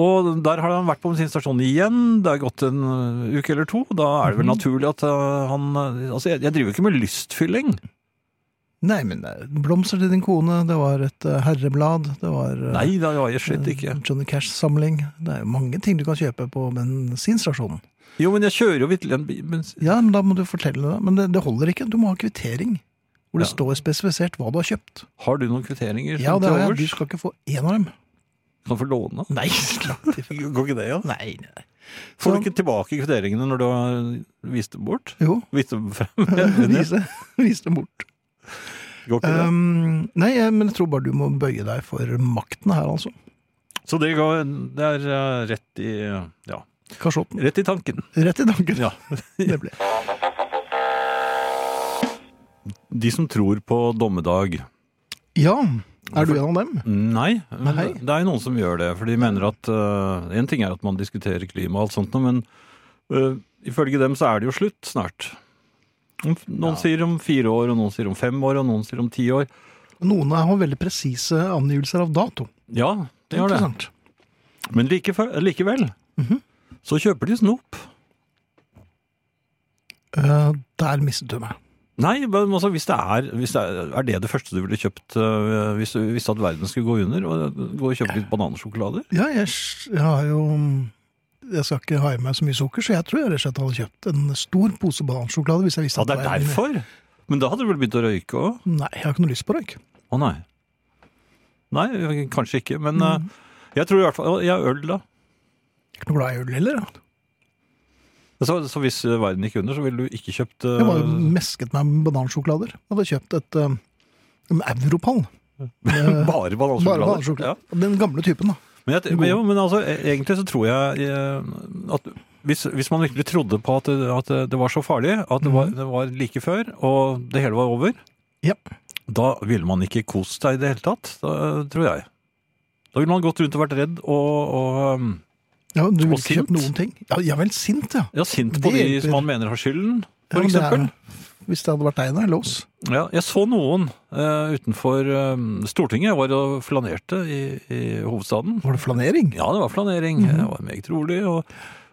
[SPEAKER 3] og der har han vært på bensinstasjon igjen. Det er gått en ø, uke eller to. Da er det
[SPEAKER 2] Mhm.
[SPEAKER 3] vel naturlig at ø, han ø, Altså, jeg, jeg driver jo ikke med lystfylling.
[SPEAKER 2] Nei, men eh, blomster til din kone, det var et eh, herreblad, det var eh,
[SPEAKER 3] Nei, det var jeg slett
[SPEAKER 2] eh,
[SPEAKER 3] ikke.
[SPEAKER 2] Johnny Cash-samling. Det er jo mange ting du kan kjøpe på bensinstasjonen.
[SPEAKER 3] Jo, men jeg kjører jo vitterlig en bi- bens-
[SPEAKER 2] Ja, men da må du fortelle det. Men det, det holder ikke. Du må ha kvittering. Hvor det
[SPEAKER 3] Ja.
[SPEAKER 2] står spesifisert hva du har kjøpt.
[SPEAKER 3] Har du noen kvitteringer
[SPEAKER 2] Ja,
[SPEAKER 3] som
[SPEAKER 2] det
[SPEAKER 3] til
[SPEAKER 2] er, Du
[SPEAKER 3] overs?
[SPEAKER 2] skal ikke få én av dem.
[SPEAKER 3] Kan få låne?
[SPEAKER 2] Nei, langt ifra.
[SPEAKER 3] Går ikke det, ja?
[SPEAKER 2] Nei, nei. Så-
[SPEAKER 3] Får du ikke tilbake kvitteringene når du har vist dem bort?
[SPEAKER 2] Jo,
[SPEAKER 3] Vist dem frem? Går
[SPEAKER 2] vis det, vis det bort.
[SPEAKER 3] ikke det?
[SPEAKER 2] Um, nei, jeg- men jeg tror bare du må bøye deg for makten her, altså.
[SPEAKER 3] Så det, går, det er eh, rett i, ja,
[SPEAKER 2] Kasjotten.
[SPEAKER 3] rett i tanken.
[SPEAKER 2] Rett i tanken.
[SPEAKER 3] Ja.
[SPEAKER 2] Det ble.
[SPEAKER 3] De som tror på dommedag.
[SPEAKER 2] ja, er du en av dem?
[SPEAKER 3] Nei, men
[SPEAKER 2] Nei.
[SPEAKER 3] det er jo noen som gjør det. For de mener at eh, En ting er at man diskuterer klima og alt sånt, men eh, ifølge dem så er det jo slutt snart. Om- Noen sier om fire år, og noen sier om fem år, og noen sier om ti år.
[SPEAKER 2] Noen har veldig presise angivelser av dato.
[SPEAKER 3] Ja, det gjør det.
[SPEAKER 2] Interessant.
[SPEAKER 3] Men likevel, likevel Mhm. så kjøper de snop.
[SPEAKER 2] Eh, der mistet du meg.
[SPEAKER 3] Nei, men altså, hvis det, er, hvis det er, er det det første du ville kjøpt øh, hvis du visste at verden skulle gå under? Og gå og kjøpe litt banansjokolader?
[SPEAKER 2] Ja, jeg, s- jeg har jo Jeg skal ikke ha i meg så mye sukker, så jeg tror jeg rett og slett hadde kjøpt en stor pose banansjokolade hvis jeg visste
[SPEAKER 3] Ja, det er
[SPEAKER 2] var-
[SPEAKER 3] derfor! Men da hadde du vel begynt å røyke òg?
[SPEAKER 2] Nei, jeg har ikke noe lyst på røyk.
[SPEAKER 3] Å nei. Nei, kanskje ikke. Men øh,
[SPEAKER 2] Mm.
[SPEAKER 3] jeg tror i hvert fall Jeg er øl, da.
[SPEAKER 2] Ikke noe glad i øl heller. da.
[SPEAKER 3] Så, så hvis øh, verden gikk under, så ville du ikke kjøpt øh,
[SPEAKER 2] Jeg bare mesket meg med banansjokolader. Jeg hadde kjøpt et eh, en Europall. Med
[SPEAKER 3] bare
[SPEAKER 2] eh, bare
[SPEAKER 3] banansjokolader?
[SPEAKER 2] banansjokolade. Den gamle typen, da.
[SPEAKER 3] Men, jeg, men, jo, men altså, e- egentlig så tror jeg eh, at hvis, hvis man virkelig trodde på at det, at det var så farlig, at det var, det var like før, og det hele var over,
[SPEAKER 2] Mm. Ja.
[SPEAKER 3] da ville man ikke kost seg i det hele tatt, da, tror jeg. Da ville man gått rundt og vært redd og, og um,
[SPEAKER 2] Ja, du ville
[SPEAKER 3] Og
[SPEAKER 2] ikke kjøpt
[SPEAKER 3] sint.
[SPEAKER 2] noen ting. Ja, jeg er vel sint, ja.
[SPEAKER 3] ja, sint
[SPEAKER 2] Det
[SPEAKER 3] på de
[SPEAKER 2] hjelper.
[SPEAKER 3] som man mener har skylden,
[SPEAKER 2] Ja,
[SPEAKER 3] for
[SPEAKER 2] men det er-
[SPEAKER 3] eksempel.
[SPEAKER 2] Hvis det hadde vært deg, da. Eller oss.
[SPEAKER 3] Ja, jeg så noen eh, utenfor eh, Stortinget, jeg var og flanerte i, i hovedstaden.
[SPEAKER 2] Var det flanering?
[SPEAKER 3] Ja, det var flanering.
[SPEAKER 2] Mhm.
[SPEAKER 3] Det var meget rolig. Og,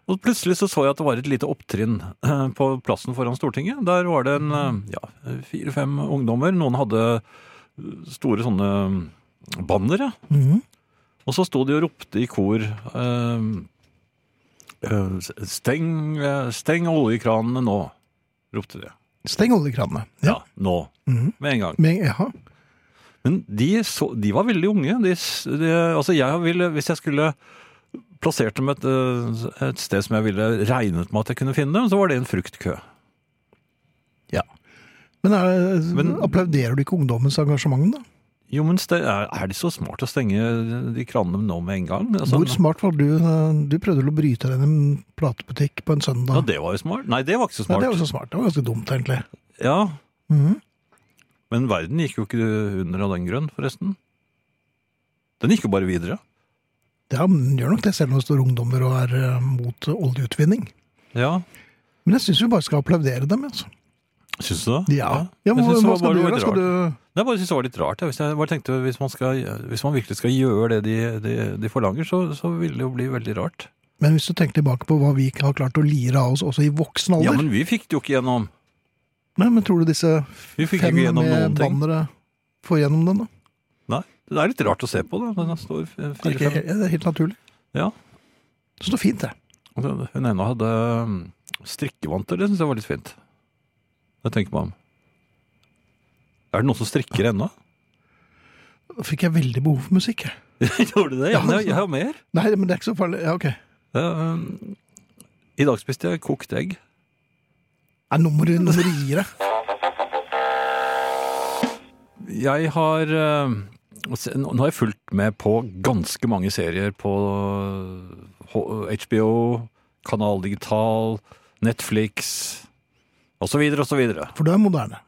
[SPEAKER 3] og plutselig så så jeg at det var et lite opptrinn eh, på plassen foran Stortinget. Der var det en eh, ja, fire-fem ungdommer. Noen hadde eh, store sånne mm, bannere.
[SPEAKER 2] Mhm.
[SPEAKER 3] Og så sto de og ropte i kor eh, eh, Steng, eh, steng oljekranene nå, ropte de.
[SPEAKER 2] Steng oljekranene.
[SPEAKER 3] Ja, nå.
[SPEAKER 2] Mhm.
[SPEAKER 3] Med en gang.
[SPEAKER 2] Men, ja.
[SPEAKER 3] Men de, så, de var veldig unge. De, s- de, altså jeg ville, hvis jeg skulle plassert dem et, eh, et sted som jeg ville regnet med at jeg kunne finne dem, så var det en fruktkø.
[SPEAKER 2] Men, er,
[SPEAKER 3] Men-
[SPEAKER 2] applauderer du ikke ungdommens engasjement, da?
[SPEAKER 3] Jo, men ste, er, er det så smart å stenge de kranene nå med en gang? Altså,
[SPEAKER 2] Hvor smart var du? eh, Du prøvde vel å bryte deg inn i en platebutikk på en søndag.
[SPEAKER 3] Ja, det var jo smart. Nei, det var ikke
[SPEAKER 2] Nei,
[SPEAKER 3] så smart.
[SPEAKER 2] det var så smart. Det var ganske dumt, egentlig.
[SPEAKER 3] Ja,
[SPEAKER 2] Mhm.
[SPEAKER 3] men verden gikk jo ikke under av den grunn, forresten. Den gikk jo bare videre.
[SPEAKER 2] Ja, men gjør nok det, selv om det står ungdommer og er eh, mot oljeutvinning.
[SPEAKER 3] Ja,
[SPEAKER 2] Men jeg syns vi bare skal applaudere dem. Altså.
[SPEAKER 3] syns du det?
[SPEAKER 2] Ja. ja
[SPEAKER 3] Jeg
[SPEAKER 2] men,
[SPEAKER 3] synes det
[SPEAKER 2] hva
[SPEAKER 3] var
[SPEAKER 2] skal
[SPEAKER 3] bare
[SPEAKER 2] du gjøre?
[SPEAKER 3] litt
[SPEAKER 2] Skal du
[SPEAKER 3] Jeg bare synes det var litt rart. Jeg. Hvis jeg bare tenkte hvis man, skal, hvis man virkelig skal gjøre det de, de, de forlanger, så, så ville det jo bli veldig rart.
[SPEAKER 2] Men hvis du tenker tilbake på hva vi ikke har klart å lire av oss også i voksen alder
[SPEAKER 3] Ja, men vi fikk det jo ikke gjennom.
[SPEAKER 2] Nei, men tror du disse
[SPEAKER 3] Vi fikk
[SPEAKER 2] fem
[SPEAKER 3] ikke gjennom
[SPEAKER 2] med
[SPEAKER 3] noen ting.
[SPEAKER 2] bannere får gjennom den, da?
[SPEAKER 3] Nei, Det er litt rart å se på, da. Den står
[SPEAKER 2] Det er, ikke,
[SPEAKER 3] fire-fem.
[SPEAKER 2] ja, det er helt naturlig.
[SPEAKER 3] Ja.
[SPEAKER 2] Det står fint, det.
[SPEAKER 3] Altså, Hun ene hadde mm, strikkevanter. Det syns jeg var litt fint. Det tenker man om. Er det noen som strikker ennå?
[SPEAKER 2] Da fikk jeg veldig behov for musikk. jeg.
[SPEAKER 3] Gjorde du det? Ja, men altså. jeg, jeg har mer.
[SPEAKER 2] Nei, men det er ikke så farlig. Ja, ok.
[SPEAKER 3] Eh, mm, I dag spiste jeg kokt egg.
[SPEAKER 2] Nei, nå må du nå må du gi deg.
[SPEAKER 3] Jeg har eh, se- Nå nå har jeg fulgt med på ganske mange serier på eh, H- HBO, Kanal Digital, Netflix osv. osv.
[SPEAKER 2] For du er moderne.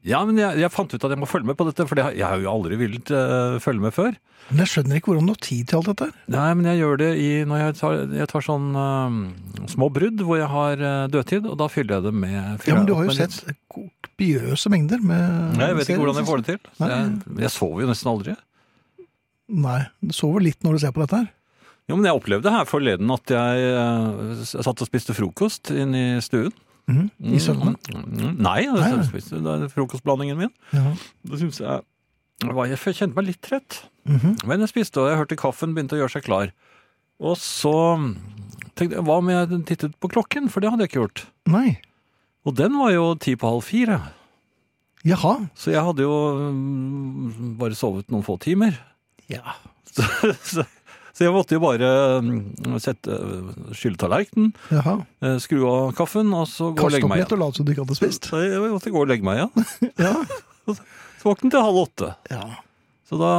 [SPEAKER 3] Ja, men jeg, jeg fant ut at jeg må følge med på dette, for det har- jeg har jo aldri villet eh, følge med før.
[SPEAKER 2] Men jeg skjønner ikke hvordan du har tid til alt dette. her.
[SPEAKER 3] Nei, men jeg gjør det i, når jeg tar, jeg tar sånn eh, små brudd hvor jeg har eh, dødtid, og da fyller jeg det med fyller
[SPEAKER 2] Ja, men Du
[SPEAKER 3] jeg
[SPEAKER 2] har jo
[SPEAKER 3] opp med
[SPEAKER 2] sett
[SPEAKER 3] litt-
[SPEAKER 2] kopiøse mengder med
[SPEAKER 3] Nei, Jeg vet ikke hvordan jeg får det til.
[SPEAKER 2] Nei.
[SPEAKER 3] Jeg, jeg sover jo nesten aldri.
[SPEAKER 2] Nei, du sover litt når du ser på dette her.
[SPEAKER 3] Jo, men jeg opplevde her forleden at jeg eh, s- satt og spiste frokost inne i stuen.
[SPEAKER 2] Mhm, I søvne.
[SPEAKER 3] Mm, Nei, jeg
[SPEAKER 2] Nei, nei.
[SPEAKER 3] spiste det er frokostblandingen min.
[SPEAKER 2] Ja.
[SPEAKER 3] Da synes jeg, jeg var- jeg kjente meg litt trett.
[SPEAKER 2] Mhm.
[SPEAKER 3] Men jeg spiste, og jeg hørte kaffen begynte å gjøre seg klar. Og så tenkte jeg, hva om jeg tittet på klokken? For det hadde jeg ikke gjort.
[SPEAKER 2] Nei.
[SPEAKER 3] Og den var jo ti på halv fire.
[SPEAKER 2] Jaha.
[SPEAKER 3] Så jeg hadde jo mm, bare sovet noen få timer.
[SPEAKER 2] Ja.
[SPEAKER 3] Så, så, så jeg måtte jo bare mm, sette eh, skylle tallerkenen,
[SPEAKER 2] Jaha.
[SPEAKER 3] eh, skru av kaffen, og så gå og
[SPEAKER 2] Kast
[SPEAKER 3] legge
[SPEAKER 2] opp
[SPEAKER 3] meg
[SPEAKER 2] litt
[SPEAKER 3] igjen.
[SPEAKER 2] og lat som du ikke hadde spist.
[SPEAKER 3] Så jeg måtte gå og legge meg igjen.
[SPEAKER 2] Ja.
[SPEAKER 3] Så våknet jeg halv åtte.
[SPEAKER 2] ja.
[SPEAKER 3] Så da,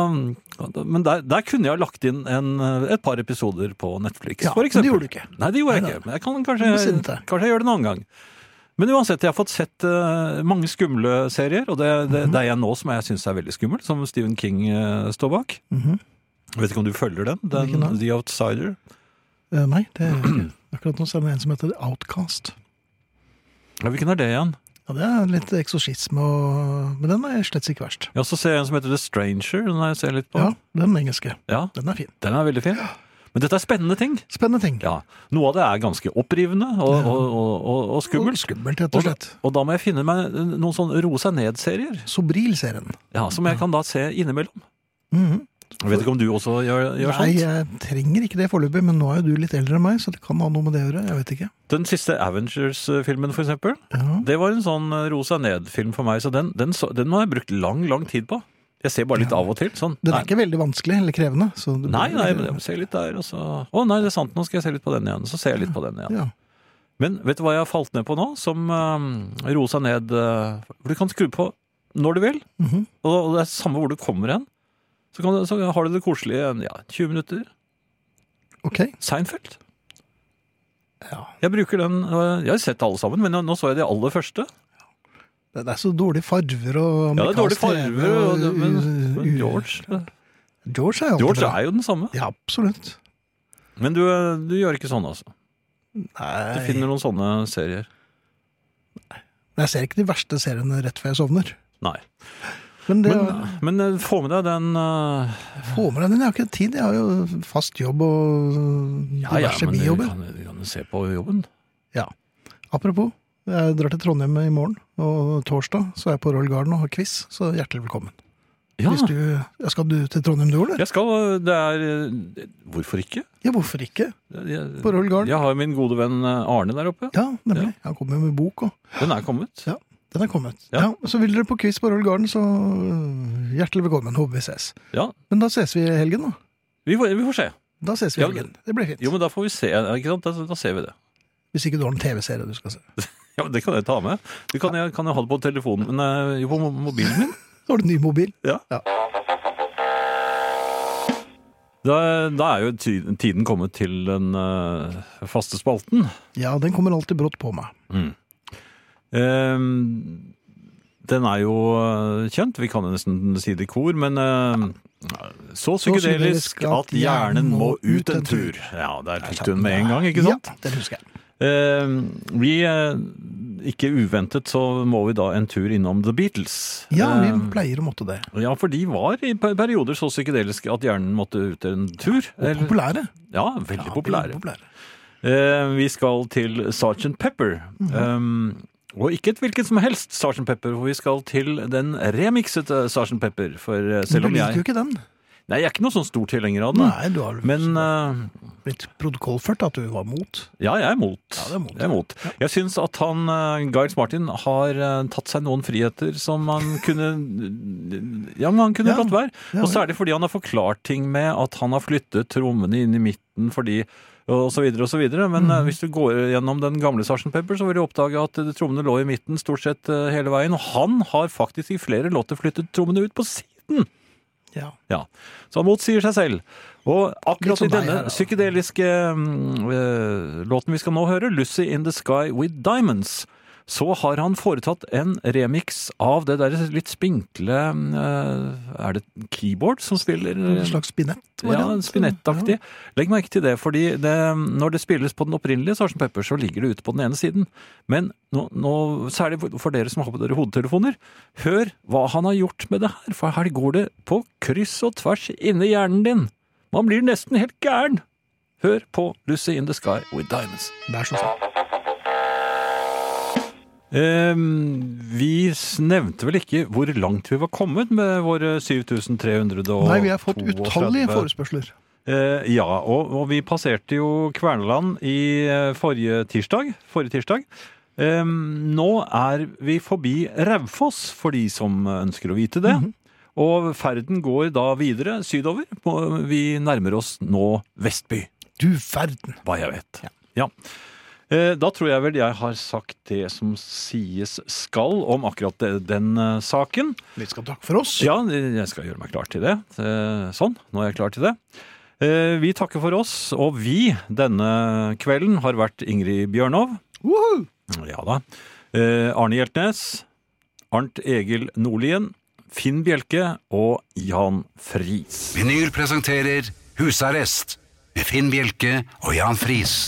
[SPEAKER 3] men der, der kunne jeg ha lagt inn en, eh, et par episoder på Netflix,
[SPEAKER 2] Ja,
[SPEAKER 3] for
[SPEAKER 2] men det
[SPEAKER 3] eksempel.
[SPEAKER 2] gjorde du ikke.
[SPEAKER 3] Nei, det gjorde jeg
[SPEAKER 2] Neida.
[SPEAKER 3] ikke. Men jeg kan
[SPEAKER 2] Du
[SPEAKER 3] kanskje,
[SPEAKER 2] bestemte deg.
[SPEAKER 3] kanskje jeg gjør det en annen gang. Men uansett, jeg har fått sett eh, mange skumle serier, og det, det,
[SPEAKER 2] Mhm.
[SPEAKER 3] det er jeg nå som jeg syns er veldig skummel, som Stephen King eh, står bak.
[SPEAKER 2] Mhm.
[SPEAKER 3] Jeg vet ikke om du følger den? den
[SPEAKER 2] Hvilken da?
[SPEAKER 3] The Outsider.
[SPEAKER 2] Eh, Nei, det er ikke. akkurat nå så er det en som heter Outcast.
[SPEAKER 3] Ja, hvilken er det igjen?
[SPEAKER 2] Ja, Det er litt eksorsisme, og... men den er slett ikke verst.
[SPEAKER 3] Jeg også ser en som heter The Stranger, den har jeg sett litt på.
[SPEAKER 2] Ja, Den engelske.
[SPEAKER 3] Ja,
[SPEAKER 2] Den er fin.
[SPEAKER 3] Den er veldig fin. Men dette er spennende ting.
[SPEAKER 2] Spennende ting.
[SPEAKER 3] Ja, Noe av det er ganske opprivende og, og, og, og, og
[SPEAKER 2] Og
[SPEAKER 3] skummelt.
[SPEAKER 2] Skummelt, rett og slett.
[SPEAKER 3] Og da må jeg finne meg noen sånn roe seg ned-serier,
[SPEAKER 2] Sobril-serien.
[SPEAKER 3] ja, som jeg kan da se innimellom.
[SPEAKER 2] Mhm.
[SPEAKER 3] Jeg vet ikke om du også gjør, gjør
[SPEAKER 2] Nei,
[SPEAKER 3] sånt.
[SPEAKER 2] jeg trenger ikke det foreløpig, men nå er jo du litt eldre enn meg, så det kan ha noe med det å gjøre. Jeg vet ikke.
[SPEAKER 3] Den siste Avengers-filmen, for eksempel,
[SPEAKER 2] Ja.
[SPEAKER 3] det var en sånn roe seg ned-film for meg, så den, den, så, den har jeg brukt lang, lang tid på. Jeg ser bare litt av og til. sånn.
[SPEAKER 2] Den
[SPEAKER 3] Nei,
[SPEAKER 2] er ikke veldig vanskelig eller krevende. Så du
[SPEAKER 3] nei, nei, men jeg må se litt der, og så Å nei, det er sant, nå skal jeg se litt på den igjen. Så ser jeg litt på den igjen.
[SPEAKER 2] ja.
[SPEAKER 3] Men vet du hva jeg har falt ned på nå, som uh, roer seg ned eh, For du kan skru på når du vil,
[SPEAKER 2] Mhm.
[SPEAKER 3] og, og det er samme hvor du kommer hen. Så, kan, du- så har du det koselig i en, ja, 20 minutter.
[SPEAKER 2] Ok.
[SPEAKER 3] Seinfeld.
[SPEAKER 2] Ja.
[SPEAKER 3] Jeg bruker den eh, Jeg har sett alle sammen, men nå så jeg de aller første.
[SPEAKER 2] Det det er så dårlige farver og
[SPEAKER 3] Ja, det er
[SPEAKER 2] amerikansk
[SPEAKER 3] dårlige
[SPEAKER 2] TV
[SPEAKER 3] farger, og, det- men,
[SPEAKER 2] u- u-
[SPEAKER 3] men George
[SPEAKER 2] George er jo alltid
[SPEAKER 3] George
[SPEAKER 2] bra.
[SPEAKER 3] er jo den samme.
[SPEAKER 2] Ja, absolutt.
[SPEAKER 3] Men du, eh, du gjør ikke sånn, altså. Du
[SPEAKER 2] Nei.
[SPEAKER 3] finner noen sånne serier.
[SPEAKER 2] Jeg ser ikke de verste seriene rett før jeg sovner.
[SPEAKER 3] Nei.
[SPEAKER 2] Men det,
[SPEAKER 3] Men, men eh, få med deg den eh,
[SPEAKER 2] få med deg den. Jeg har ikke tid. Jeg har jo fast jobb og diverse
[SPEAKER 3] men du
[SPEAKER 2] bijobber.
[SPEAKER 3] kan, du kan se på jobben.
[SPEAKER 2] Ja. Apropos, jeg drar til Trondheim i morgen, og torsdag så er jeg på Royal Garden og har quiz, så hjertelig velkommen.
[SPEAKER 3] Ja.
[SPEAKER 2] Hvis du, ja, skal du til Trondheim du, eller?
[SPEAKER 3] Jeg skal, eh, det er eh, Hvorfor ikke?
[SPEAKER 2] Ja, hvorfor ikke?
[SPEAKER 3] Jeg,
[SPEAKER 2] På Royal Garden.
[SPEAKER 3] jeg har jo min gode venn eh, Arne der oppe.
[SPEAKER 2] Ja, nemlig. Han kommer jo med bok og
[SPEAKER 3] Den er kommet.
[SPEAKER 2] Ja, den er kommet.
[SPEAKER 3] Ja.
[SPEAKER 2] Ja. så vil dere på quiz på Royal Garden, så øh, hjertelig velkommen. Håper vi ses.
[SPEAKER 3] Ja,
[SPEAKER 2] Men da ses vi i helgen, da.
[SPEAKER 3] vi får, vi får se.
[SPEAKER 2] Da ses vi i
[SPEAKER 3] Ja,
[SPEAKER 2] helgen. Det blir fint.
[SPEAKER 3] Jo, men da får vi se. Ikke sant? Da, da ser vi det.
[SPEAKER 2] Hvis ikke du har en TV-serie du skal se.
[SPEAKER 3] Ja, men Det kan jeg ta med. Du kan, jeg, kan jeg ha det på telefonen, men eh, jo, på mo- mobilen min.
[SPEAKER 2] Så har du ny mobil.
[SPEAKER 3] Ja.
[SPEAKER 2] Ja.
[SPEAKER 3] Da, da er jo ty- tiden kommet til den eh, faste spalten.
[SPEAKER 2] Ja, den kommer alltid brått på meg.
[SPEAKER 3] Ehm, den er jo eh, kjent, vi kan jo nesten si det i kor, men eh, så psykedelisk at hjernen må ut en tur. Ja, der fikk du den med en gang, ikke sant?
[SPEAKER 2] Ja, den husker jeg.
[SPEAKER 3] Ehm, vi, eh, ikke uventet, så må vi da en tur innom The Beatles.
[SPEAKER 2] Ja, vi
[SPEAKER 3] Ehm,
[SPEAKER 2] pleier å måtte det.
[SPEAKER 3] ja, for de var i per- perioder så psykedeliske at hjernen måtte ut en tur.
[SPEAKER 2] Og
[SPEAKER 3] Eller-
[SPEAKER 2] populære.
[SPEAKER 3] ja, veldig
[SPEAKER 2] Ja,
[SPEAKER 3] populære.
[SPEAKER 2] veldig populære.
[SPEAKER 3] Eh, vi skal til Sgt. Pepper.
[SPEAKER 2] Mhm.
[SPEAKER 3] Ehm, og ikke et hvilket som helst Sgt. Pepper, for vi skal til den remixete Sgt. Pepper. For eh,
[SPEAKER 2] Men
[SPEAKER 3] selv
[SPEAKER 2] du
[SPEAKER 3] om
[SPEAKER 2] liker jo
[SPEAKER 3] jeg
[SPEAKER 2] ikke den.
[SPEAKER 3] Nei, jeg er ikke noen sånn stor tilhenger av den.
[SPEAKER 2] Nei, du har
[SPEAKER 3] Men eh,
[SPEAKER 2] blitt protokollført at du var mot.
[SPEAKER 3] ja, jeg er mot.
[SPEAKER 2] det er mot,
[SPEAKER 3] Jeg, er mot. jeg syns at han, eh, Giles Martin, har eh, tatt seg noen friheter som han kunne Ja, men han kunne
[SPEAKER 2] Ja.
[SPEAKER 3] latt være.
[SPEAKER 2] Ja,
[SPEAKER 3] og
[SPEAKER 2] ja.
[SPEAKER 3] særlig fordi han har forklart ting med at han har flyttet trommene inn i midten fordi og så videre og så videre. Men
[SPEAKER 2] Mhm.
[SPEAKER 3] eh, hvis du går gjennom den gamle Sarsen Pepper, så vil du oppdage at eh, trommene lå i midten stort sett eh, hele veien. Og han har faktisk i flere låter flyttet trommene ut på siden!
[SPEAKER 2] Ja.
[SPEAKER 3] Ja, Så han motsier seg selv. Og akkurat
[SPEAKER 2] Litt som
[SPEAKER 3] i
[SPEAKER 2] deg
[SPEAKER 3] denne
[SPEAKER 2] her, da.
[SPEAKER 3] psykedeliske mm, eh, låten vi skal nå høre, 'Lucy in the Sky with Diamonds', så har han foretatt en remix av det der litt spinkle eh, Er det keyboard som spiller? eh,
[SPEAKER 2] En slags spinett?
[SPEAKER 3] Mm. Ja,
[SPEAKER 2] sånn?
[SPEAKER 3] spinettaktig. Legg merke til det, fordi det, når det spilles på den opprinnelige Sarsen Pepper, så ligger det ute på den ene siden. Men nå, nå, særlig for dere som har på dere hodetelefoner, hør hva han har gjort med det her, for her går det på kryss og tvers inni hjernen din. Man blir nesten helt gæren. Hør på Lucy in the Sky with Diamonds.
[SPEAKER 2] Ja. Det er sånn. så sant.
[SPEAKER 3] Eh, vi s- nevnte vel ikke hvor langt vi var kommet med våre 7332
[SPEAKER 2] Nei, vi har fått utallige forespørsler.
[SPEAKER 3] Eh, ja, og, og vi passerte jo Kverneland i eh, forrige tirsdag. Forrige tirsdag. Eh, nå er vi forbi Raufoss, for de som ønsker å vite det.
[SPEAKER 2] Mhm.
[SPEAKER 3] Og ferden går da videre sydover. På- Vi nærmer oss nå Vestby,
[SPEAKER 2] Du verden!
[SPEAKER 3] hva jeg vet. Ja. Eh, Da tror jeg vel jeg har sagt det som sies skal om akkurat det- den eh, saken.
[SPEAKER 2] Vi skal takke for oss.
[SPEAKER 3] Ja, jeg skal gjøre meg klar til det. Eh, Sånn, nå er jeg klar til det. Eh, Vi takker for oss, og vi denne kvelden har vært Ingrid Bjørnov.
[SPEAKER 2] Woohoo!
[SPEAKER 3] Ja da. Eh, Arne Hjeltnes. Arnt Egil Nordlien. Finn Bjelke og Jan Friis.
[SPEAKER 1] Vinyl presenterer Husarrest med Finn Bjelke og Jan Friis.